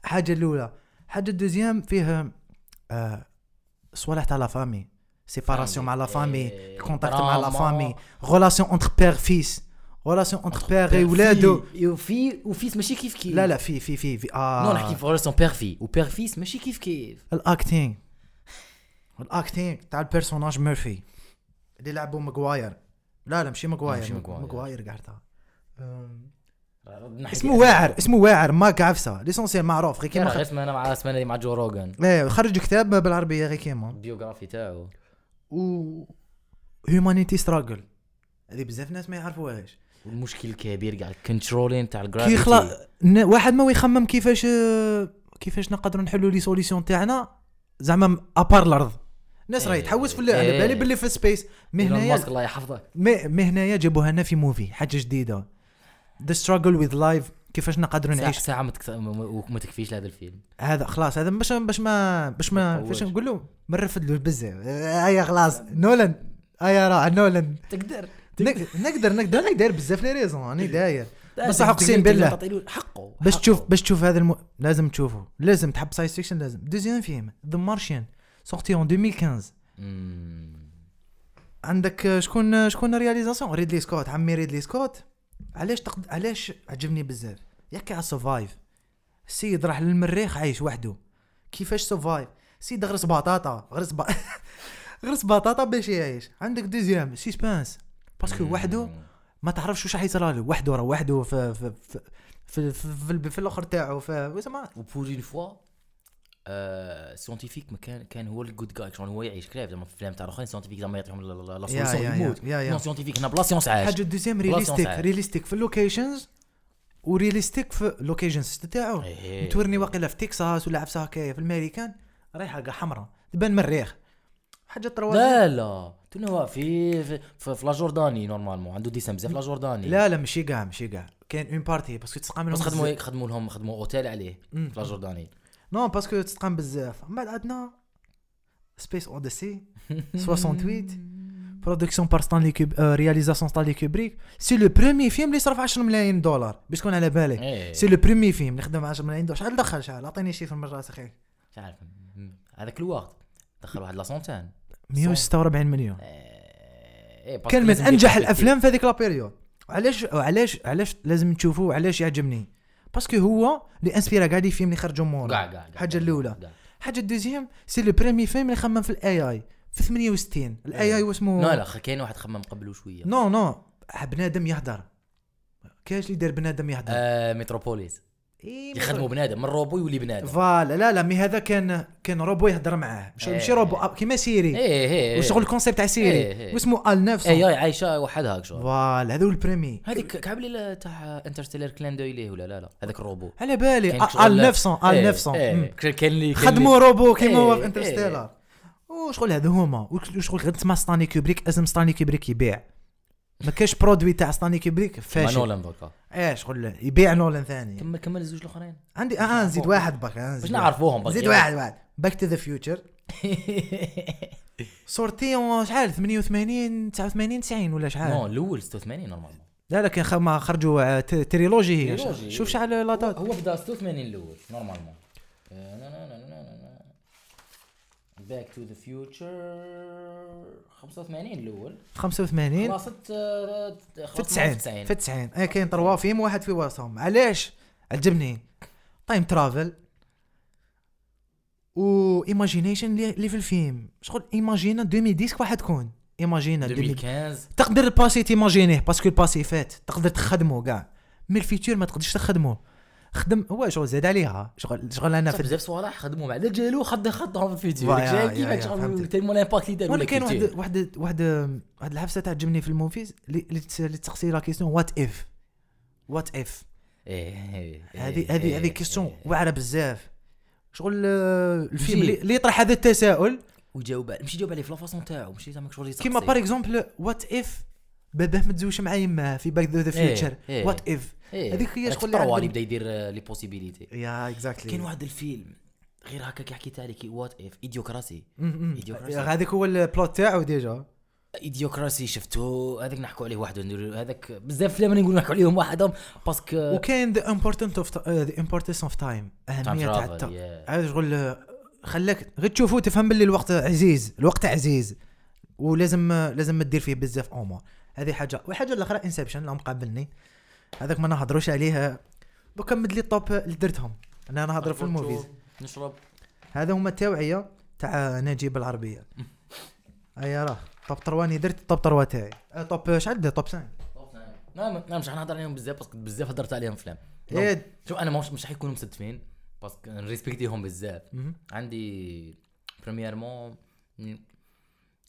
حاجه الاولى حاجه الدوزيام فيه آه صوالح تاع لا فامي سيباراسيون مع لا فامي
إيه.
كونتاكت مع لا
دراما.
فامي غولاسيون اونتر بير فيس غولاسيون اونتر بير ولادو
وفي وفيس ماشي كيف كيف
لا لا في في في, في اه
نو نحكي في غرسون بير في وبير فيس ماشي كيف كيف
الاكتينغ الاكتينغ تاع البيرسوناج ميرفي اللي لعبوا ماغواير لا لا ماشي ماغواير
ماشي ماغواير.
ماغواير قعدتها أم،
نحكي-
اسمه واعر اسمه واعر ما عفسه ليسونسيال معروف غير
كيما
كيما
غير
خرج
اسمه انا مع اسمه مع جو روغان
ايه خرج كتاب بالعربيه غير كيما
البيوغرافي تاعو
و هيومانيتي ستراجل هذه بزاف ناس ما يعرفوهاش
المشكل كبير كاع الكنترولين تاع الجرافيتي
كي يخلق ن- واحد ما يخمم كيفاش آه، كيفاش نقدروا نحلوا لي سوليسيون تاعنا زعما ابار الارض الناس راهي
إيه.
تحوس في ال- على بالي
إيه.
باللي في السبيس مي
ايلون
هنايا
ماسك الله يحفظه
ما ما هنايا جابوها لنا في موفي حاجه جديده ذا ستراجل وذ لايف كيفاش نقدروا
ساعة,
نعيش
ساعة ما, تكت... ما- ما- وما تكفيش لهذا الفيلم
هذا خلاص هذا باش باش ما باش ما
ما
باش
تطورش.
نقول له ما نرفدلوش بزاف ايا خلاص نولان ايا راه نولان
تقدر
نك- نقدر نقدر انا داير بزاف لي ريزون انا داير بصح
تقدر-
أقسم
تقدر
بالله.
تعطيلو حقه
باش
حقه.
تشوف باش تشوف هذا الم... لازم تشوفه لازم تحب ساينس فيكشن لازم دوزيام فيلم ذا مارشيان سورتي اون 2015
مم.
عندك آه، شكون آه، شكون رياليزاسيون ريدلي سكوت عمي ريدلي سكوت علاش تقد... علاش عجبني بزاف ياك على سرفايف السيد راح للمريخ عايش وحده كيفاش سرفايف سيد غرس بطاطا غرس ب... غرس بطاطا باش يعيش عندك دوزيام سيسبانس باسكو وحده ما تعرفش واش راح يصرى له وحده راه وحده في في في في, في, في, في, في الاخر تاعو في وسمع
وبور اون فوا آه، سيونتيفيك ما كان كان هو الجود جاي شغل هو يعيش كلاف زعما في الافلام تاع الاخرين سيونتيفيك زعما يعطيهم لا- لا لا
يا- يا-
سوليسيون
يا-
يموت
يا- يا.
نو سيونتيفيك هنا بلا سيونس عاش
حاجه دوزيام
بلاصة
ريليستيك
وسعاد.
ريليستيك في اللوكيشنز وريليستيك في اللوكيشنز تاعو
إيه.
تورني واقيلا في تكساس ولا عفسه هكايا في الميريكان رايحه كاع حمراء تبان مريخ حاجه تروى
لا لا تنا هو في في, في, في لا جورداني نورمالمون عنده ديسم بزاف لا جورداني
لا لا ماشي كاع ماشي كاع كاين اون بارتي باسكو تسقى منهم
بس خدموا
بزاف.
هيك خدموا لهم خدموا اوتيل عليه في لا جورداني
نو باسكو تسقى بزاف من بعد عندنا سبيس اوديسي 68 برودكسيون بار ستانلي كوب آه، رياليزاسيون ستانلي كوبريك سي لو برومي فيلم اللي صرف 10 ملايين دولار باش تكون على بالك
إيه.
سي لو برومي فيلم اللي خدم 10 ملايين دولار شحال دخل شحال عطيني شي في المرة اخي
مش عارف مم. هذاك الوقت دخل واحد لا سونتان
146 مليون
إيه، باسكو
كان من
لازم
انجح
يدير-
الافلام في هذيك لابيريود وعلاش وعلاش علاش لازم تشوفوه وعلاش يعجبني باسكو هو اللي انسبيرا كاع لي فيلم اللي خرجوا
كاع
مورا
كاع كاع.
حاجه الاولى
كاع.
حاجه الدوزيام سي لو بريمي فيلم اللي خمم في الاي اي في 68 الاي اي واسمه
لا لا خ- كاين واحد خمم قبله شويه
نو نو بنادم يهدر كاش اللي دار بنادم يهدر
آه، متروبوليس
إيه،
يخدموا بنادم من روبو يولي بنادم
فوالا لا لا مي هذا كان كان روبو يهدر معاه مش
إيه.
ماشي روبو آه، كيما سيري
ايه ايه
وشغل الكونسيبت تاع
إيه،
سيري
إيه.
واسمه ال 900
ايه اي عايشه وحدها هاك شغل
فوالا هذا هو البريمي
هذيك كعبلي تاع انترستيلر كلان دو إليه ولا لا لا هذاك الروبو
على بالي آه،
كاين
ال
شغل-
900 ال
إيه،
900
إيه.
مم.
كان كان اللي كان
خدموا
اللي-
روبو كيما هو في
إيه،
انترستيلر وشغل هذو هما وشغل غير تسمع ستانلي كوبريك اسم ستانلي كوبريك يبيع ما كاش برودوي تاع سطاني كيبريك
مع
فاشل
نولان دوكا
ايه شغل يبيع نولان ثاني
كمل كمل الزوج الاخرين
عندي اه نزيد واحد باك آه، نزيد
باش
واحد.
نعرفوهم برك.
زيد
يلا.
واحد واحد باك تو ذا فيوتشر سورتي شحال 88 89 90 ولا
نو
شحال
الاول 86 نورمالمون
لا لا كان خ- ما خرجوا آه، ت- تريلوجي هي
تريلوجي.
شوف شحال لا
هو
دات
هو بدا 86 الاول نورمالمون آه، نا- نا- نا- نا- نا- نا. Back to the future 85 الاول
85
خلاصت آه،
في
خلاصت
90
90
في 90 اه كاين تروا فيهم واحد في وسطهم علاش عجبني تايم ترافل و ايماجينيشن اللي اللي في الفيلم شغل ايماجينا 2010 واحد تكون ايماجينا 2010
2015
تقدر الباسي تيماجينيه باسكو الباسي فات تقدر تخدمه كاع مي الفيتور ما تقدرش تخدمه خدم هو شغل زاد عليها شغل شغل انا في
بزاف صوالح خدموا مع دجالو خد خدهم في الفيديو
فوايا،
داك
يا-
الشيء كيما
يا،
شغل
فهمتك.
تيمون الامباكت اللي دار
وانا
ولا
كاين واحد
كيتير.
واحد واحد واحد الحبسه تعجبني في الموفيز اللي اللي تس- اللي تسقسي لا كيسيون وات اف وات اف
إيه، إيه، إيه،
هذه هذه هذه
إيه،
كيسيون
إيه.
واعره بزاف شغل آه، الفيلم
ماشي.
اللي اللي يطرح هذا التساؤل
ويجاوب عليه- ماشي يجاوب عليه في لافاسون تاعو ماشي زعما شغل يتقصي.
كيما باغ اكزومبل وات اف باباه متزوجش مع يماه في باك ذا
إيه،
فيوتشر
إيه.
وات اف
إيه.
هذيك هي
راك
شغل
تطروا
عندهم.
اللي بدا يدير آه، لي إيه. بوسيبيليتي
يا
كاين
اكزاكتلي
واحد الفيلم غير هكا كيحكي تاع لك وات اف ايديوكراسي Idiocracy.
هذاك هو البلوت تاعو ديجا
ايديوكراسي شفتو هذاك نحكوا عليه وحده نديرو- هذاك بزاف فيلم نقول نحكوا عليهم وحدهم باسكو
وكاين ذا امبورتنت اوف ذا امبورتنس اوف تايم اهميه تاع
travel,
الت-
yeah.
هذا شغل آه، خلاك غير تشوفه تفهم باللي الوقت عزيز الوقت عزيز ولازم آه، لازم دير فيه بزاف امور هذه حاجه والحاجه الاخرى انسبشن لهم قابلني هذاك ما نهضروش عليه دوكا مد لي الطوب اللي درتهم انا نهضر في الموفيز
نشرب
هذا هما التوعيه تاع نجيب العربيه اي راه طوب 3 اللي درت طوب 3 تاعي آه، طوب شحال درت طوب 5
لا ما- لا نعم، مش حنهضر عليهم بزاف باسكو بزاف هضرت عليهم فلام
إيه.
شوف انا مش مش حيكونوا مستفين باسكو نريسبكتيهم بزاف
مهم.
عندي بريميرمون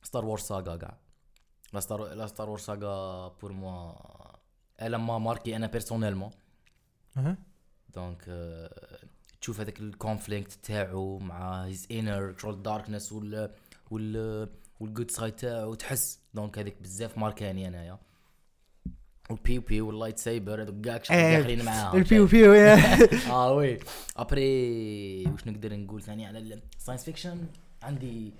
ستار وورز ساغا كاع لا ستار لا ستار وورز ساغا بور موا الا ما ماركي انا بيرسونيلمون
أها.
دونك آه، تشوف هذاك الكونفليكت تاعو مع هيز انر شغل داركنس وال وال والجود سايد تاعو تحس دونك هذيك بزاف ماركاني انايا والبي بي واللايت سايبر هذوك كاع شغل
إيه،
داخلين معاهم
البيو بيو يا.
اه وي ابري واش نقدر نقول ثاني على الساينس فيكشن عندي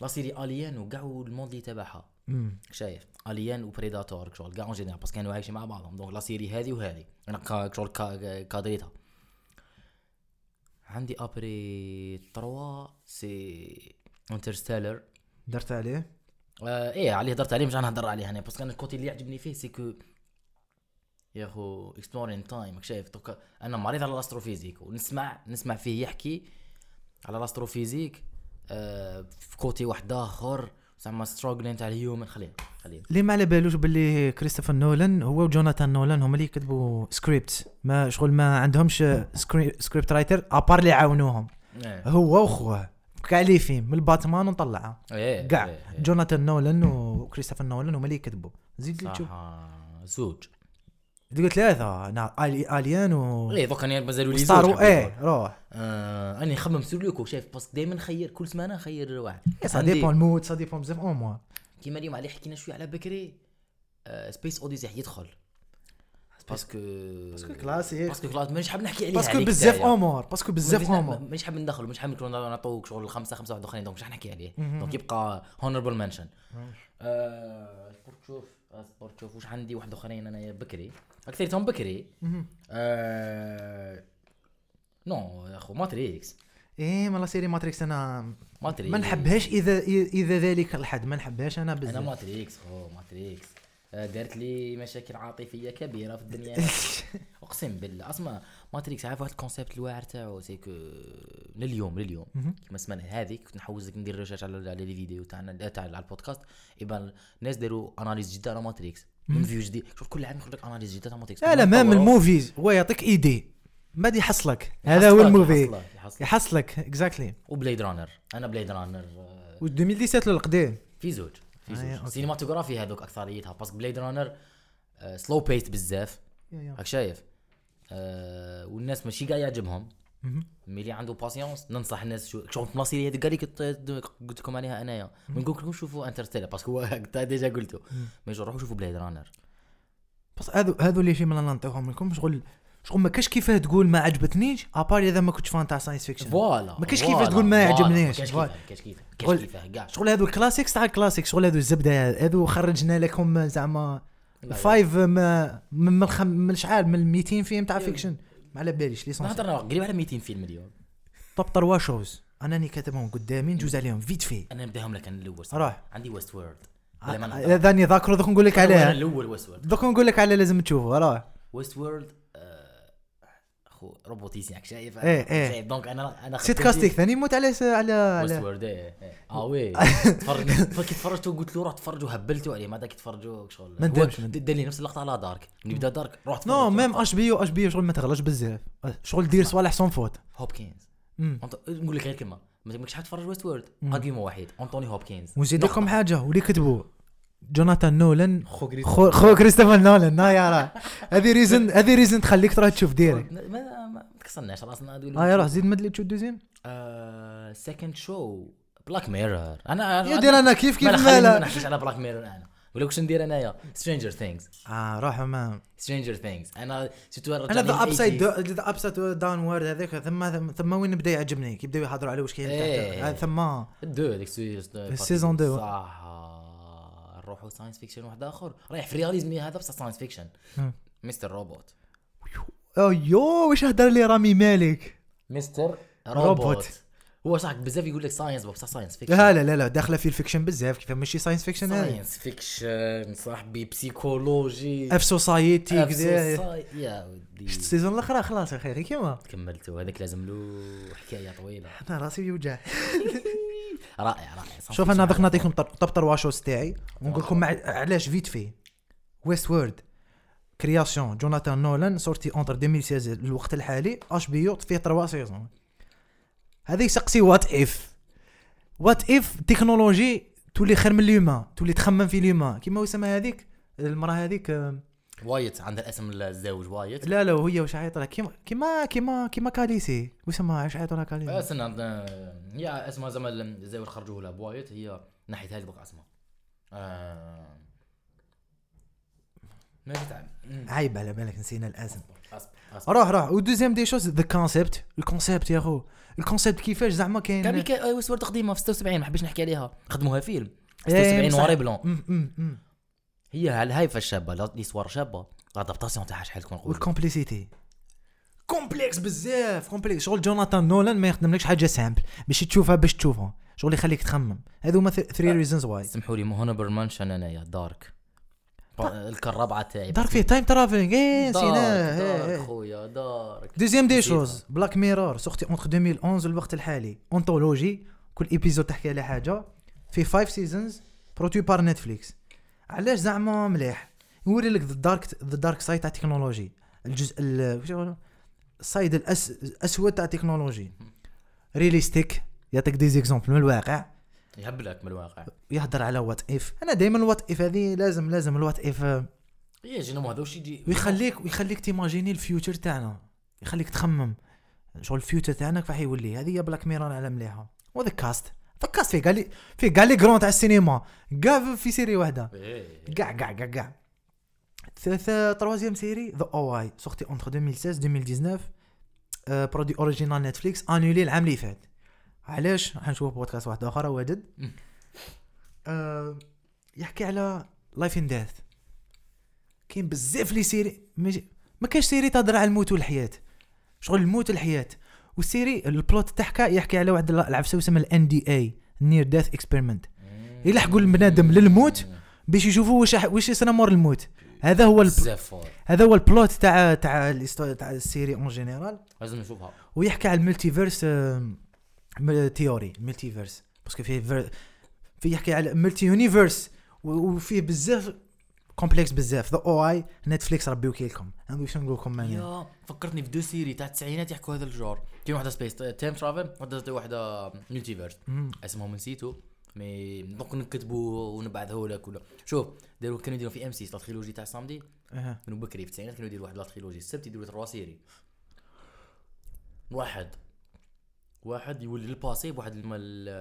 لا سيري اليان وكاع الموند اللي تبعها
مم.
شايف اليان وبريداتور شغل كاع اون جينيرال باسكو كانوا عايشين مع بعضهم دونك لا سيري هذه وهذه انا كا- شغل كا- كادريتها عندي ابري 3 سي انترستيلر
درت عليه
آه ايه عليه هضرت عليه مش انا هضر عليه انا باسكو انا الكوتي اللي يعجبني فيه سي كو يا اخو اكسبلورين تايم شايف دوكا انا مريض على الاستروفيزيك ونسمع نسمع فيه يحكي على الاستروفيزيك آه في كوتي واحد اخر زعما ستراجلين تاع الهيومن خليه خليه
اللي ما على بالوش باللي كريستوفر نولان هو وجوناثان نولان هما اللي يكتبوا سكريبت ما شغل ما عندهمش سكريبت رايتر ابار اللي عاونوهم
ايه
هو وخوه كاع لي فيلم من باتمان ونطلعها
ايه
كاع
إيه، إيه.
جوناثان نولان وكريستوفر نولان هما اللي يكتبوا زيد لي
صح،
تشوف
آه، زوج
تقول ثلاثه انا آلي- اليان و
ايه دوكا انا مازالوا لي زوج
ستار
حبيت نقول.
ايه روح
آه، انا نخمم سلوكو شايف باسكو دائما خير كل سمانه خير واحد
سا
إيه، عندي-
ديبون المود سا ديبون بزاف Oh, او موا
كيما اليوم عليه حكينا شويه على بكري آه، سبيس اوديزي يدخل باسكو
باسكو كلاسيك
باسكو كلاس مانيش حاب نحكي عليه
باسكو
إيه، عليك
بزاف oh,
تاعي.
امور باسكو بزاف oh,
مانيش-
امور
مانيش حاب ندخل مانيش حاب نكون نعطوك شغل خمسه خمسه واحد اخرين دونك مش حنحكي عليه
مهم.
دونك يبقى آه، هونربل منشن اصبر تشوف اصبر تشوف واش عندي واحد اخرين انا بكري اكثرتهم بكري
مهم.
آه، نو يا اخو ماتريكس
ايه مالا سيري ماتريكس انا
ماتريكس
ما نحبهاش اذا اذا ذلك الحد ما نحبهاش انا
انا
بزاف
ماتريكس هو ماتريكس آه، دارت لي مشاكل عاطفيه كبيره في الدنيا اقسم بالله اسمع ماتريكس عارف واحد الكونسيبت الواعر تاعو سي كو لليوم لليوم كيما السمانه هذيك كنت نحوزك ندير ريشيرش على على لي فيديو تاعنا آه، تاع على البودكاست ايبان الناس داروا اناليز جديده على ماتريكس من فيو جديد شوف كل عام يخرج لك اناليز جديده تاع ماتريكس
لا لا مام الموفيز هو يعطيك ايدي ما دي يحصلك هذا هو
يحصلك-
الموفي
يحصلك- يحصلك.
يحصلك اكزاكتلي
وبليد رانر انا بليد رانر آه،
و 2017 للقدام
في زوج في
آه، يا،
زوج
أوكي.
سينماتوغرافي هذوك اكثريتها باسكو بليد رانر سلو بيست آه، بزاف
يا- يا.
راك شايف آه والناس ماشي قاع يعجبهم
مهم.
مي اللي عنده باسيونس ننصح الناس شو شوف البلاصه اللي هذيك اللي كنت قلت لكم عليها انايا ما نقول لكم شوفوا انترستيلا باسكو هو تا ديجا قلته مي جو روحوا شوفوا بلاد رانر
بس هذو هذو اللي فيلم انا نعطيهم لكم شغل شغل ما كاش كيفاه تقول ما عجبتنيش ابار اذا ما كنتش فان تاع ساينس فيكشن
فوالا
ما كاش
فوالا،
كيفاش تقول ما
فوالا،
عجبنيش.
كاش
فوالا.
كيفاه كاش كيفاه
قول-
كاش كيفاه كاع
شغل هذو الكلاسيكس تاع الكلاسيكس شغل هذو الزبده هذو خرجنا لكم زعما فايف ما من من, الخم... من شحال من 200 فيلم تاع فيكشن ما على باليش لي
ما
سونس
هضرنا قريب على 200 فيلم اليوم
توب تروا شوز انا راني كاتبهم قدامي نجوز عليهم فيت في
انا نبداهم لك انا الاول
روح.
عندي ويست وورد
آه،
بلا ما نهضر.
ذاني ذاكرو دوك نقول لك
أنا
عليها
الاول ويست وورد
دوك نقول لك على لازم تشوفه راه
ويست وورد آه، اخو روبوتيسي راك شايف
إيه، إيه.
شايف دونك انا انا
سيت
خدمتي-
كاستيك ثاني موت على س- على
ويست
على
وورد ايه إيه. اه وي تفرج كي تفرجت قلت له روح تفرج وهبلته عليه ما داك تفرجوا شغل
ما
هو
ندمش، ما ندمش.
دار لي نفس اللقطه على دارك من يبدا دارك روح تفرج
نو ميم اش بي اش بي شغل ما تغلاش بزاف شغل دير صوالح صون فوت
هوبكنز
مم.
أنط- نقول لك غير كلمه ما تبغيش حد تفرج ويست وورد ارجيومون واحد انطوني هوبكنز
ونزيد
نقطة.
لكم حاجه واللي كتبوا جوناثان نولان
خو كريس-
خو خو كريستوفر نولان نا يا راه هذه ريزن هذه ريزن تخليك تروح تشوف ديري
ما ما- ما تكسرناش راسنا
اه روح زيد مد لي تشوف دوزيام
سكند شو بلاك ميرور انا
يا دير انا كيف كيف
ما خليني ما
مالا
نحكيش على بلاك ميرور انا ولا واش ندير انايا سترينجر ثينكس
اه روح ما
سترينجر ثينكس انا سيتو
انا ذا ابسايد ذا ابسايد داون وورد هذاك ثم ثم- ثم وين بدا يعجبني كيبداو يهضروا على واش كاين
إيه.
تحت. آه، ثم
دو هذيك السي-
السيزون دو.
صح آه، نروحوا ساينس فيكشن واحد اخر رايح في الرياليزم هذا بصح ساينس فيكشن
مم.
مستر روبوت
أو يو واش هضر أيوه، لي رامي مالك
مستر
روبوت.
روبوت هو صح بزاف يقول لك ساينس بصح ساينس
لا
فيكشن
لا لا لا داخله في الفيكشن بزاف كيف ماشي ساينس فيكشن هذه
ساينس فيكشن صاحبي بسيكولوجي
اف سوسايتي كذا
Society. يا ودي
شفت السيزون الاخر خلاص يا اخي كيما
كملته هذاك لازم له حكايه طويله
انا راسي يوجع
رائع رائع صح
شوف انا دوك نعطيكم طبطر واشوز تاعي ونقول لكم مع- علاش فيت في ويست وورد كرياسيون جوناثان نولان سورتي اونتر 2016 للوقت الحالي اش بي يو فيه تروا سيزون هذا يسقسي وات اف وات اف تكنولوجي تولي خير من اليوما تولي تخمم في اليوما كيما وسمى هذيك المراه هذيك آه، آم،
وايت عندها الاسم الزوج وايت
لا لا وهي واش عيط لها كيما كيما كيما كيما كاليسي وسمى واش عيط لها كاليسي
استنى عندنا- هي اسمها آه، زعما الزوج خرجوه لها بوايت هي ناحيه هذه بقى اسمها آه. ما تتعب
عيب على بالك نسينا الاسم
أصبر، أصبر.
روح روح ودوزيام دي شوز ذا كونسيبت الكونسيبت يا خو الكونسيبت كيفاش زعما
كان
كاين
كان ويست وورد قديمه في 76 ما حبيتش نحكي عليها خدموها فيلم
إيه،
76
بصح.
نواري بلون
أم، أم، أم.
هي هايفه الشابه لا- ليسوار شابه لادابتاسيون تاعها شحال تكون قويه
والكومبليسيتي كومبلكس بزاف كومبلكس شغل جوناثان نولان ما يخدملكش حاجه سامبل باش تشوفها باش تشوفها شغل يخليك تخمم هذو هما ثري ريزونز واي
سمحوا لي هونبر مانشن انايا دارك
طيب.
الكرابعه تاعي
دار فيه تايم ترافلينغ ايه
دارك
نسيناه إيه،
دارك
إيه.
خويا دارك
دوزيام دي
نسيتها.
شوز بلاك ميرور سورتي اونتر 2011 الوقت الحالي اونتولوجي كل ايبيزود تحكي على حاجه في 5 سيزونز بروتوي بار نتفليكس علاش زعما مليح نوري لك ذا دارك ذا دارك سايد تاع التكنولوجي الجزء ال- وش يقولوا؟ السايد الأس- الاسود تاع التكنولوجي ريليستيك يعطيك دي زيكزومبل من الواقع
يهبلك من الواقع
يهضر على وات اف انا دائما الوات اف هذه لازم لازم الوات اف
يا جنوم إيه، هذا واش يجي
ويخليك ويخليك تيماجيني الفيوتشر تاعنا يخليك تخمم شغل الفيوتشر تاعنا كيفاح يولي هذه هي بلاك ميرور على مليحه وذا كاست ذا كاست فيه قال فيه قال لي جرون تاع السينما كاع في سيري واحده
إيه.
كاع كاع كاع كاع ثلاثة تروازيام سيري ذا اواي سورتي اونتر 2016 2019 آه، برودي اوريجينال نتفليكس انولي العام اللي فات علاش راح نشوف بودكاست واحد اخر واجد آه، يحكي على لايف اند ديث كاين بزاف لي سيري ماشي- ما كاش سيري تهضر على الموت والحياه شغل الموت والحياه والسيري البلوت تحكى يحكي على واحد العفسه وسمى الان دي اي نير ديث اكسبيرمنت يلحقوا البنادم للموت باش يشوفوا واش واش يصير مور الموت هذا هو الب...
بزاف فور
هذا هو البلوت تاع تاع الهيستوري- تاع السيري اون جينيرال
لازم نشوفها
ويحكي على الملتيفيرس آه، تيوري الملتيفيرس باسكو فيه فير فيه يحكي على ملتي يونيفيرس وفيه بزاف كومبلكس بزاف ذا او اي نتفليكس ربي وكيلكم انا باش نقول لكم انا
يا فكرتني في دو سيري تاع التسعينات يحكوا هذا الجور كاين واحده سبيس تايم ترافل واحده واحده ملتيفيرس اسمهم نسيتو مي دونك نكتبوا ونبعثه لك ولا شوف داروا كانوا يديروا في ام 6 لا تريلوجي تاع سامدي
أها.
من بكري في التسعينات كانوا يديروا واحد لا تريلوجي السبت يديروا تروا سيري واحد واحد يولي للباسي بواحد الم-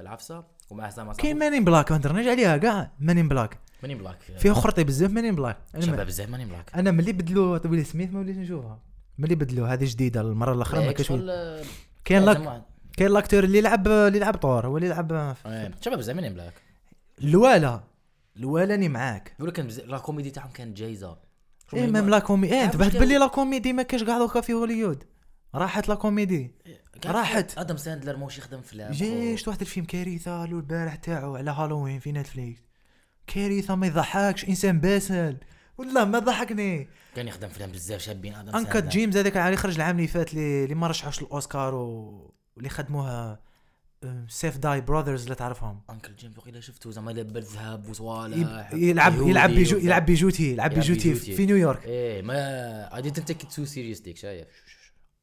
العفسه ومعه سامع
كاين مانين بلاك ما هضرناش عليها كاع مانين بلاك
ماني بلاك
فيه خرطي بزاف مانين بلاك أنا ما-
شباب بزاف ماني بلاك
انا ملي بدلو ويل سميث ما وليت نشوفها ملي بدلو هذه جديده المره الاخرى ما
إيه،
كاش
شغل،
وليت.
آه،
كاين
لازم
لاك
واحد.
كاين لاكتور اللي يلعب اللي يلعب طور هو اللي يلعب
إيه، شباب بزاف ماني بلاك
الوالا الوالاني معاك
يقول لك لا كوميدي تاعهم كانت جايزه شغل
ايه
ما-
ميم لا كوميدي ايه
عارف
انتبهت
مشكلة-
باللي لا كوميدي ما كاش قاعد دوكا في هوليود راحت لا كوميدي
قاعد-
راحت.
ادم ساندلر موش يخدم فيلم
جي شفت واحد الفيلم كارثه لو البارح تاعو على هالوين في نتفليكس كارثه ما يضحكش انسان باسل والله ما ضحكني
كان يخدم فيلم بزاف شابين ادم
انكت
ساندلر.
جيمز هذاك اللي خرج العام اللي فات اللي اللي ما رشحوش الاوسكار و- واللي خدموها سيف داي براذرز اللي تعرفهم
انكل جيم وقيلا شفته زعما يلبى ذهب
يب-
وصوالح
يلعب
يهودي
يلعب بيجو
وبتاع.
يلعب بيجوتي يلعب
يلعب
بيجوتي
بيجوتي.
في نيويورك
ايه ما اي ديدنت تيك تو سيريس ديك شايف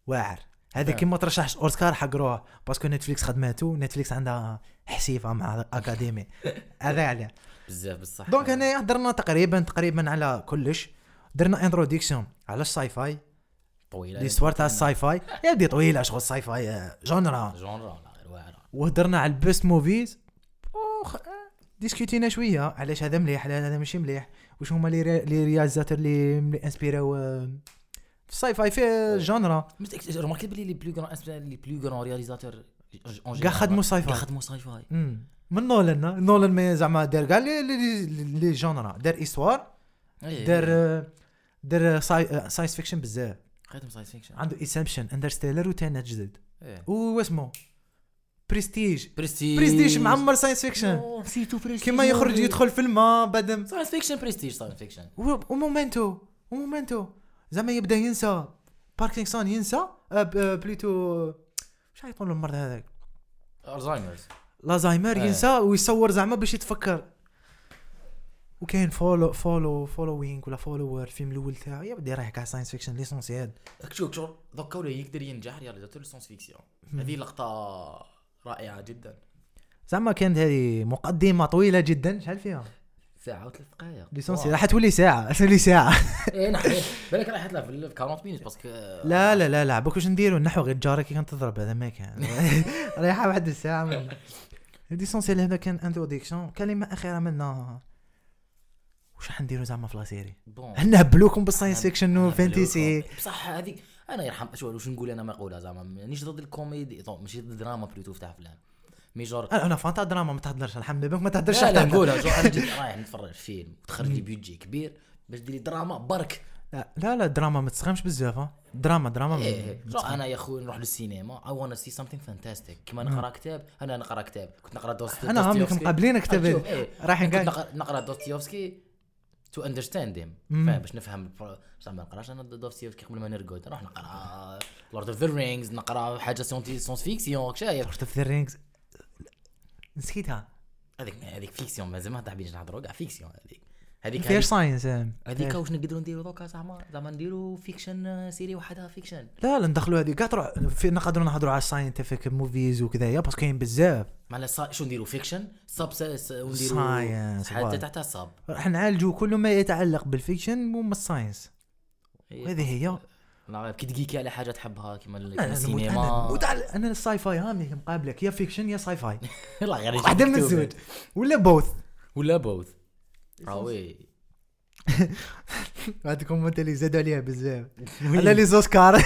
واعر هذا كي ما ترشحش اوسكار حقروه باسكو نتفليكس خدماتو نتفليكس عندها حسيفه مع الاكاديمي هذا عليه
بزاف بصح
دونك هنايا هضرنا تقريبا تقريبا على كلش درنا انتروديكسيون على الساي فاي
طويله
لي سوار تاع الساي فاي يا بدي طويله شغل الساي فاي آه، جونرا
جونرا لا غير واعره
وهضرنا على البيست موفيز وخ... آه، ديسكوتينا شويه علاش هذا مليح علاش هذا ماشي مليح واش هما لي ري- لي رياليزاتور لي لي انسبيراو آه، في الساي فاي في آه، جونرا
رماركي بلي لي بلو غران لي بلو غران رياليزاتور
كاع خدموا ساي
كاع
فاي
خدموا ساي فاي
مم. من نولان آه. نولان ما زعما دار كاع لي لي- لي لي جونرا دار ايستوار
إيه،
دار آه، دار آه، ساي آه، ساينس فيكشن بزاف
خدم ساينس فيكشن
عنده انسبشن اندرستيلر وتنات جدد
إيه.
واسمه برستيج
برستيج
برستيج معمر ساينس فيكشن
أوه، نسيتو برستيج
كيما يخرج يدخل آه، في الماء بعد
ساينس فيكشن برستيج ساينس فيكشن
ومومنتو ومومنتو زعما يبدا ينسى باركينسون ينسى آه، ب- آه، بليتو شحال يطول المرض هذاك
الزهايمرز
الزهايمر
آه.
ينسى ويصور زعما باش يتفكر وكاين فولو فولو فولوينغ ولا فولوور الفيلم الاول تاعو يا بدي راه كاع ساينس فيكشن ليسونسيال
شوف شوف دوكا ولا يقدر ينجح رياليزاتور ساينس فيكسيون هذه لقطه رائعه جدا
زعما كانت هذه مقدمه طويله جدا شحال فيها
ساعه وثلاث دقائق
ليسونسيال راح تولي ساعه تولي ساعه
ايه نحن بالك راح يطلع في ال- في 40 مينوت باسكو آه،
لا لا لا لا بك واش نديرو نحو غير جارك كي كنتضرب هذا ما كان رايحه واحد الساعه من ليسونسيال هذا كان انتروديكسيون كلمه اخيره منا واش راح نديرو زعما في لا سيري
بون
حنا هبلوكم بالساينس فيكشن وفانتيسي
بصح هذيك انا يرحم شو واش نقول انا مقوله زعما مانيش ضد الكوميدي طب ماشي ضد الدراما بلوتو تاع افلام مي جور
انا أنا فانتا دراما ما تهضرش الحمد لله ما تهضرش
لا لا
حتى أنت.
نقولها جو انا جيت رايح نتفرج فيلم وتخرج لي بيجي كبير باش دير لي دراما برك
لا لا لا دراما ما تسخمش بزاف ها. دراما دراما
ايه إيه.
ما-
جو انا يا خويا نروح للسينما اي وانا سي سامثينغ فانتاستيك كيما نقرا كتاب انا نقرا كتاب كنت نقرا دوست
انا عمركم
دوستويفسكي.
مقابلين كتاب
أشوف،
هذا.
إيه.
رايحين
كنت
كاع
نقرا- نقرا دوستويفسكي تو اندرستاند هيم
مم.
فاهم باش نفهم البرو- بصح ما نقراش انا دوستويفسكي قبل ما نرقد نروح نقرا لورد اوف ذا رينجز نقرا حاجه سونتي- سونس فيكسيون شايف
شفت في الرينجز نسيتها
هذيك هذيك فيكسيون مازال ما تعبيش نهضروا كاع فيكسيون هذيك يعني هذيك
فيهاش ساينس آه.
هذيك واش نقدروا نديروا دوكا زعما زعما نديروا فيكشن سيري وحدها فيكشن
لا لا ندخلوا هذه كاع تروح في نقدروا نهضروا على ساينتيفيك موفيز وكذايا باسكو كاين بزاف
معناها صا- شو نديروا فيكشن سب ونديروا
Science،
حتى
والله.
تحت السب
راح نعالجوا كل ما يتعلق بالفيكشن وما الساينس
إيه،
هذه هي
لا، كي تجيكي على حاجه تحبها كيما ال- كيما
انا نموت انا
السينما
نموت على- انا الساي فاي هامي مقابلك يا فيكشن يا ساي فاي
لا غير يجيك
واحده من
مكتوب.
الزوج ولا بوث
ولا بوث اه وي
هاد الكومنت اللي زادوا عليها بزاف على لي زوسكار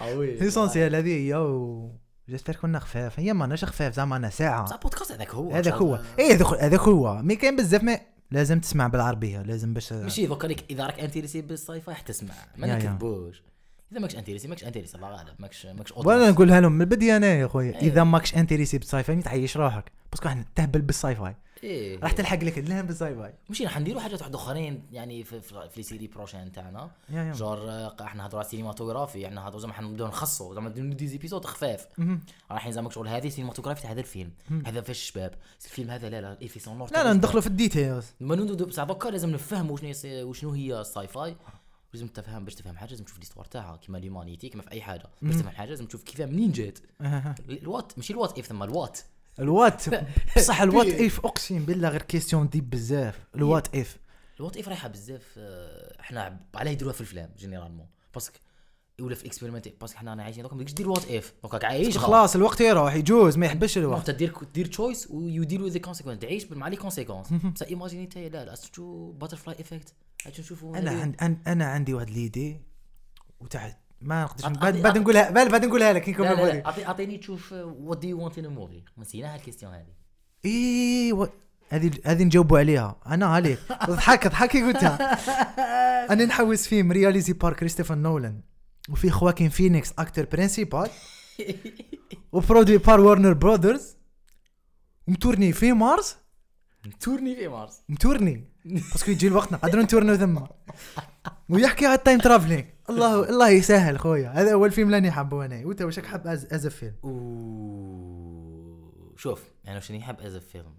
اه وي
ليسونسيال هذه هي و جيسبر كنا خفاف هي ماناش خفاف زعما انا ساعه
بصح بودكاست هذاك هو
هذاك هو ايه هذاك هو- هذاك هو مي كاين بزاف ما لازم تسمع بالعربيه لازم باش
ماشي دوكا ليك اذا راك انتيريسي بالساي فاي حتى اسمع ما
يا- يا.
نكذبوش اذا ماكش انتيريسي ماكش انتيريسي الله غالب ماكش ماكش
وانا
audience.
نقولها لهم من البدايه انا يا خويا اذا ماكش انتريسي بالساي فاي ما تعيش روحك باسكو احنا تهبل بالساي فاي
ايه
راح تلحق لك الهم بالساي فاي
ماشي راح نديروا حاجات واحد اخرين يعني في في في لي سيري بروشين تاعنا
يا يا.
جور آه، احنا هضروا على السينماتوغرافي يعني هضروا زعما حنبداو نخصوا زعما نديروا دي زيبيسود خفاف رايحين زعما شغل هذه السينماتوغرافي تاع هذا الفيلم هذا فاش الشباب الفيلم هذا لا لا في سون
لا لا ندخلوا في الديتيلز
ما ندو بصح دوكا لازم نفهموا شنو هي- وشنو هي الساي فاي لازم تفهم باش تفهم حاجه لازم تشوف ليستوار تاعها كيما ليومانيتي كيما في اي حاجه باش تفهم حاجه لازم تشوف كيفاه منين جات الوات ماشي الوات اف ثم الوات
الوات بصح الوات اف اقسم بالله غير كيستيون ديب بزاف الوات اف
الوات اف رايحه بزاف آه، احنا عب- علاه يديروها في الافلام جينيرالمون باسكو ولا في اكسبيرمنتي باسكو حنا رانا عايشين دوك مالكش دير وات اف دوك راك عايش
خلاص الوقت يروح يجوز ما يحبش
دونك
الوقت
تدير دير تشويس ويو ديل وذ كونسيكونس تعيش مع لي كونسيكونس بصح ايماجيني انت لا لا شو باترفلاي افكت نشوفوا
انا عند أن- انا عندي واحد ليدي وتاع ما نقدرش
عط-
بعد
عطي-
بعد
عطي-
نقولها بعد بعد نقولها لك كي
لا
نكمل
لا لا
بالي.
أعطي- اعطيني تشوف وات دو يو وانت ان موفي نسيناها الكيستيون هذه
اي إيه، و- هذه هذه نجاوبوا عليها انا عليك ضحك ضحك قلتها انا نحوس فيلم رياليزي بار كريستوفر نولان وفي خواكين فينيكس اكتر برينسيبال وبرودوي بار ورنر برودرز ومتورني في مارس
تورني في مارس
متورني باسكو يجي الوقت نقدروا نتورنو ثما ويحكي على التايم ترافلينغ الله الله يسهل خويا هذا اول فيلم لاني حابه انا وانت واش راك حاب از از فيلم
و شوف انا شنو نحب از فيلم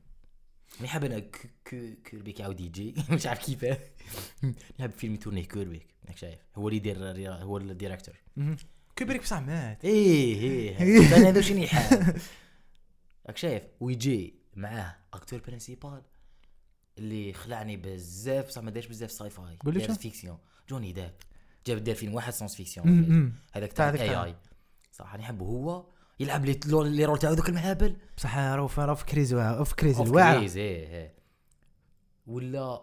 نحب انا ك- ك- كوربيك او دي جي مش عارف كيفاه نحب فيلم يتورنيه كوربيك راك شايف هو اللي يدير هو الديريكتور
كبرك بصح مات
ايه ايه انا هذا شنو يحب راك شايف ويجي معاه اكتور برينسيبال اللي خلعني بزاف صح ما دارش بزاف ساي فاي
قول لي
دار
شو؟
فيكسيون جوني داب جاب دار فيلم واحد سونس
أمم،
فيكسيون
أمم.
هذاك
تاع
تاع
هذاك
اي
تاع-
اي صح نحبه هو يلعب لي لي رول تاعو ذوك المهابل
بصح راهو في- راهو في كريز واعر- في كريز
اوف
الواعره
كريز، ايه ايه ولا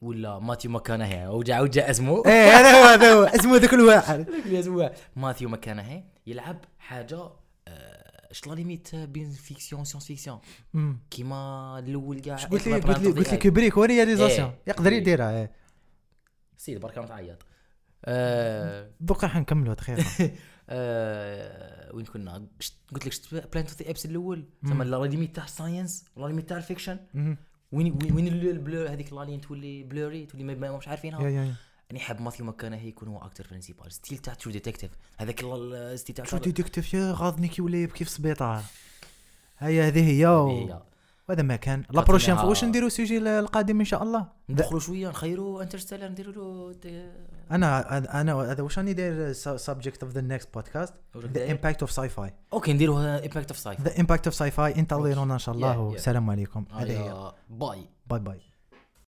ولا ماتيو ماكانهي وجع وجع اسمه
ايه هذا هو هذا هو اسمه ذاك الواعر
هذاك اللي اسمه ماثيو ماكانهي يلعب حاجه آه، اش لا ليميت بين فيكسيون سيونس فيكسيون
أمم.
كيما الاول كاع
اش قلت لي
اقرب
قلت لي
رانتو
قلت لي
ديال-
كبريك هو رياليزاسيون
إيه.
يقدر
إيه.
يديرها إيه.
سيدي برك راهم تعيط آه،
دوكا راح نكملوا دقيقه
آه، وين كنا شت- قلت لك شفت بلانت اوف ذا ابس الاول زعما لا ليميت تاع الساينس لا ليميت تاع الفيكشن
أمم.
وين وين- وين ال- البلور هذيك لالين تولي بلوري تولي ما- ما مش
يا
عارفينها
يا يا
انا حاب ماثيو ماكانهي يكون هو اكتر برينسيبال ستيل تاع ترو ديتكتيف هذاك ال- الستيل تاع
شو ديتكتيف يا غاضني كي ولا يبكي في السبيطار هيا هذه هي
هذه هي.
و- وهذا ما كان لا
تعطينا-
بروشين فوا واش نديروا السوجي ال- القادم ان شاء الله
ندخلوا شويه نخيروا انترستيلر نديروا له
انا انا هذا واش راني داير سبجكت اوف ذا نيكست بودكاست
وش
ذا
داير؟
امباكت اوف ساي فاي
اوكي نديروا امباكت اوف سايكل
ذا امباكت اوف ساي فاي انتظرونا ان شاء الله
Yeah, آه، yeah.
والسلام عليكم هذه هي
باي
باي باي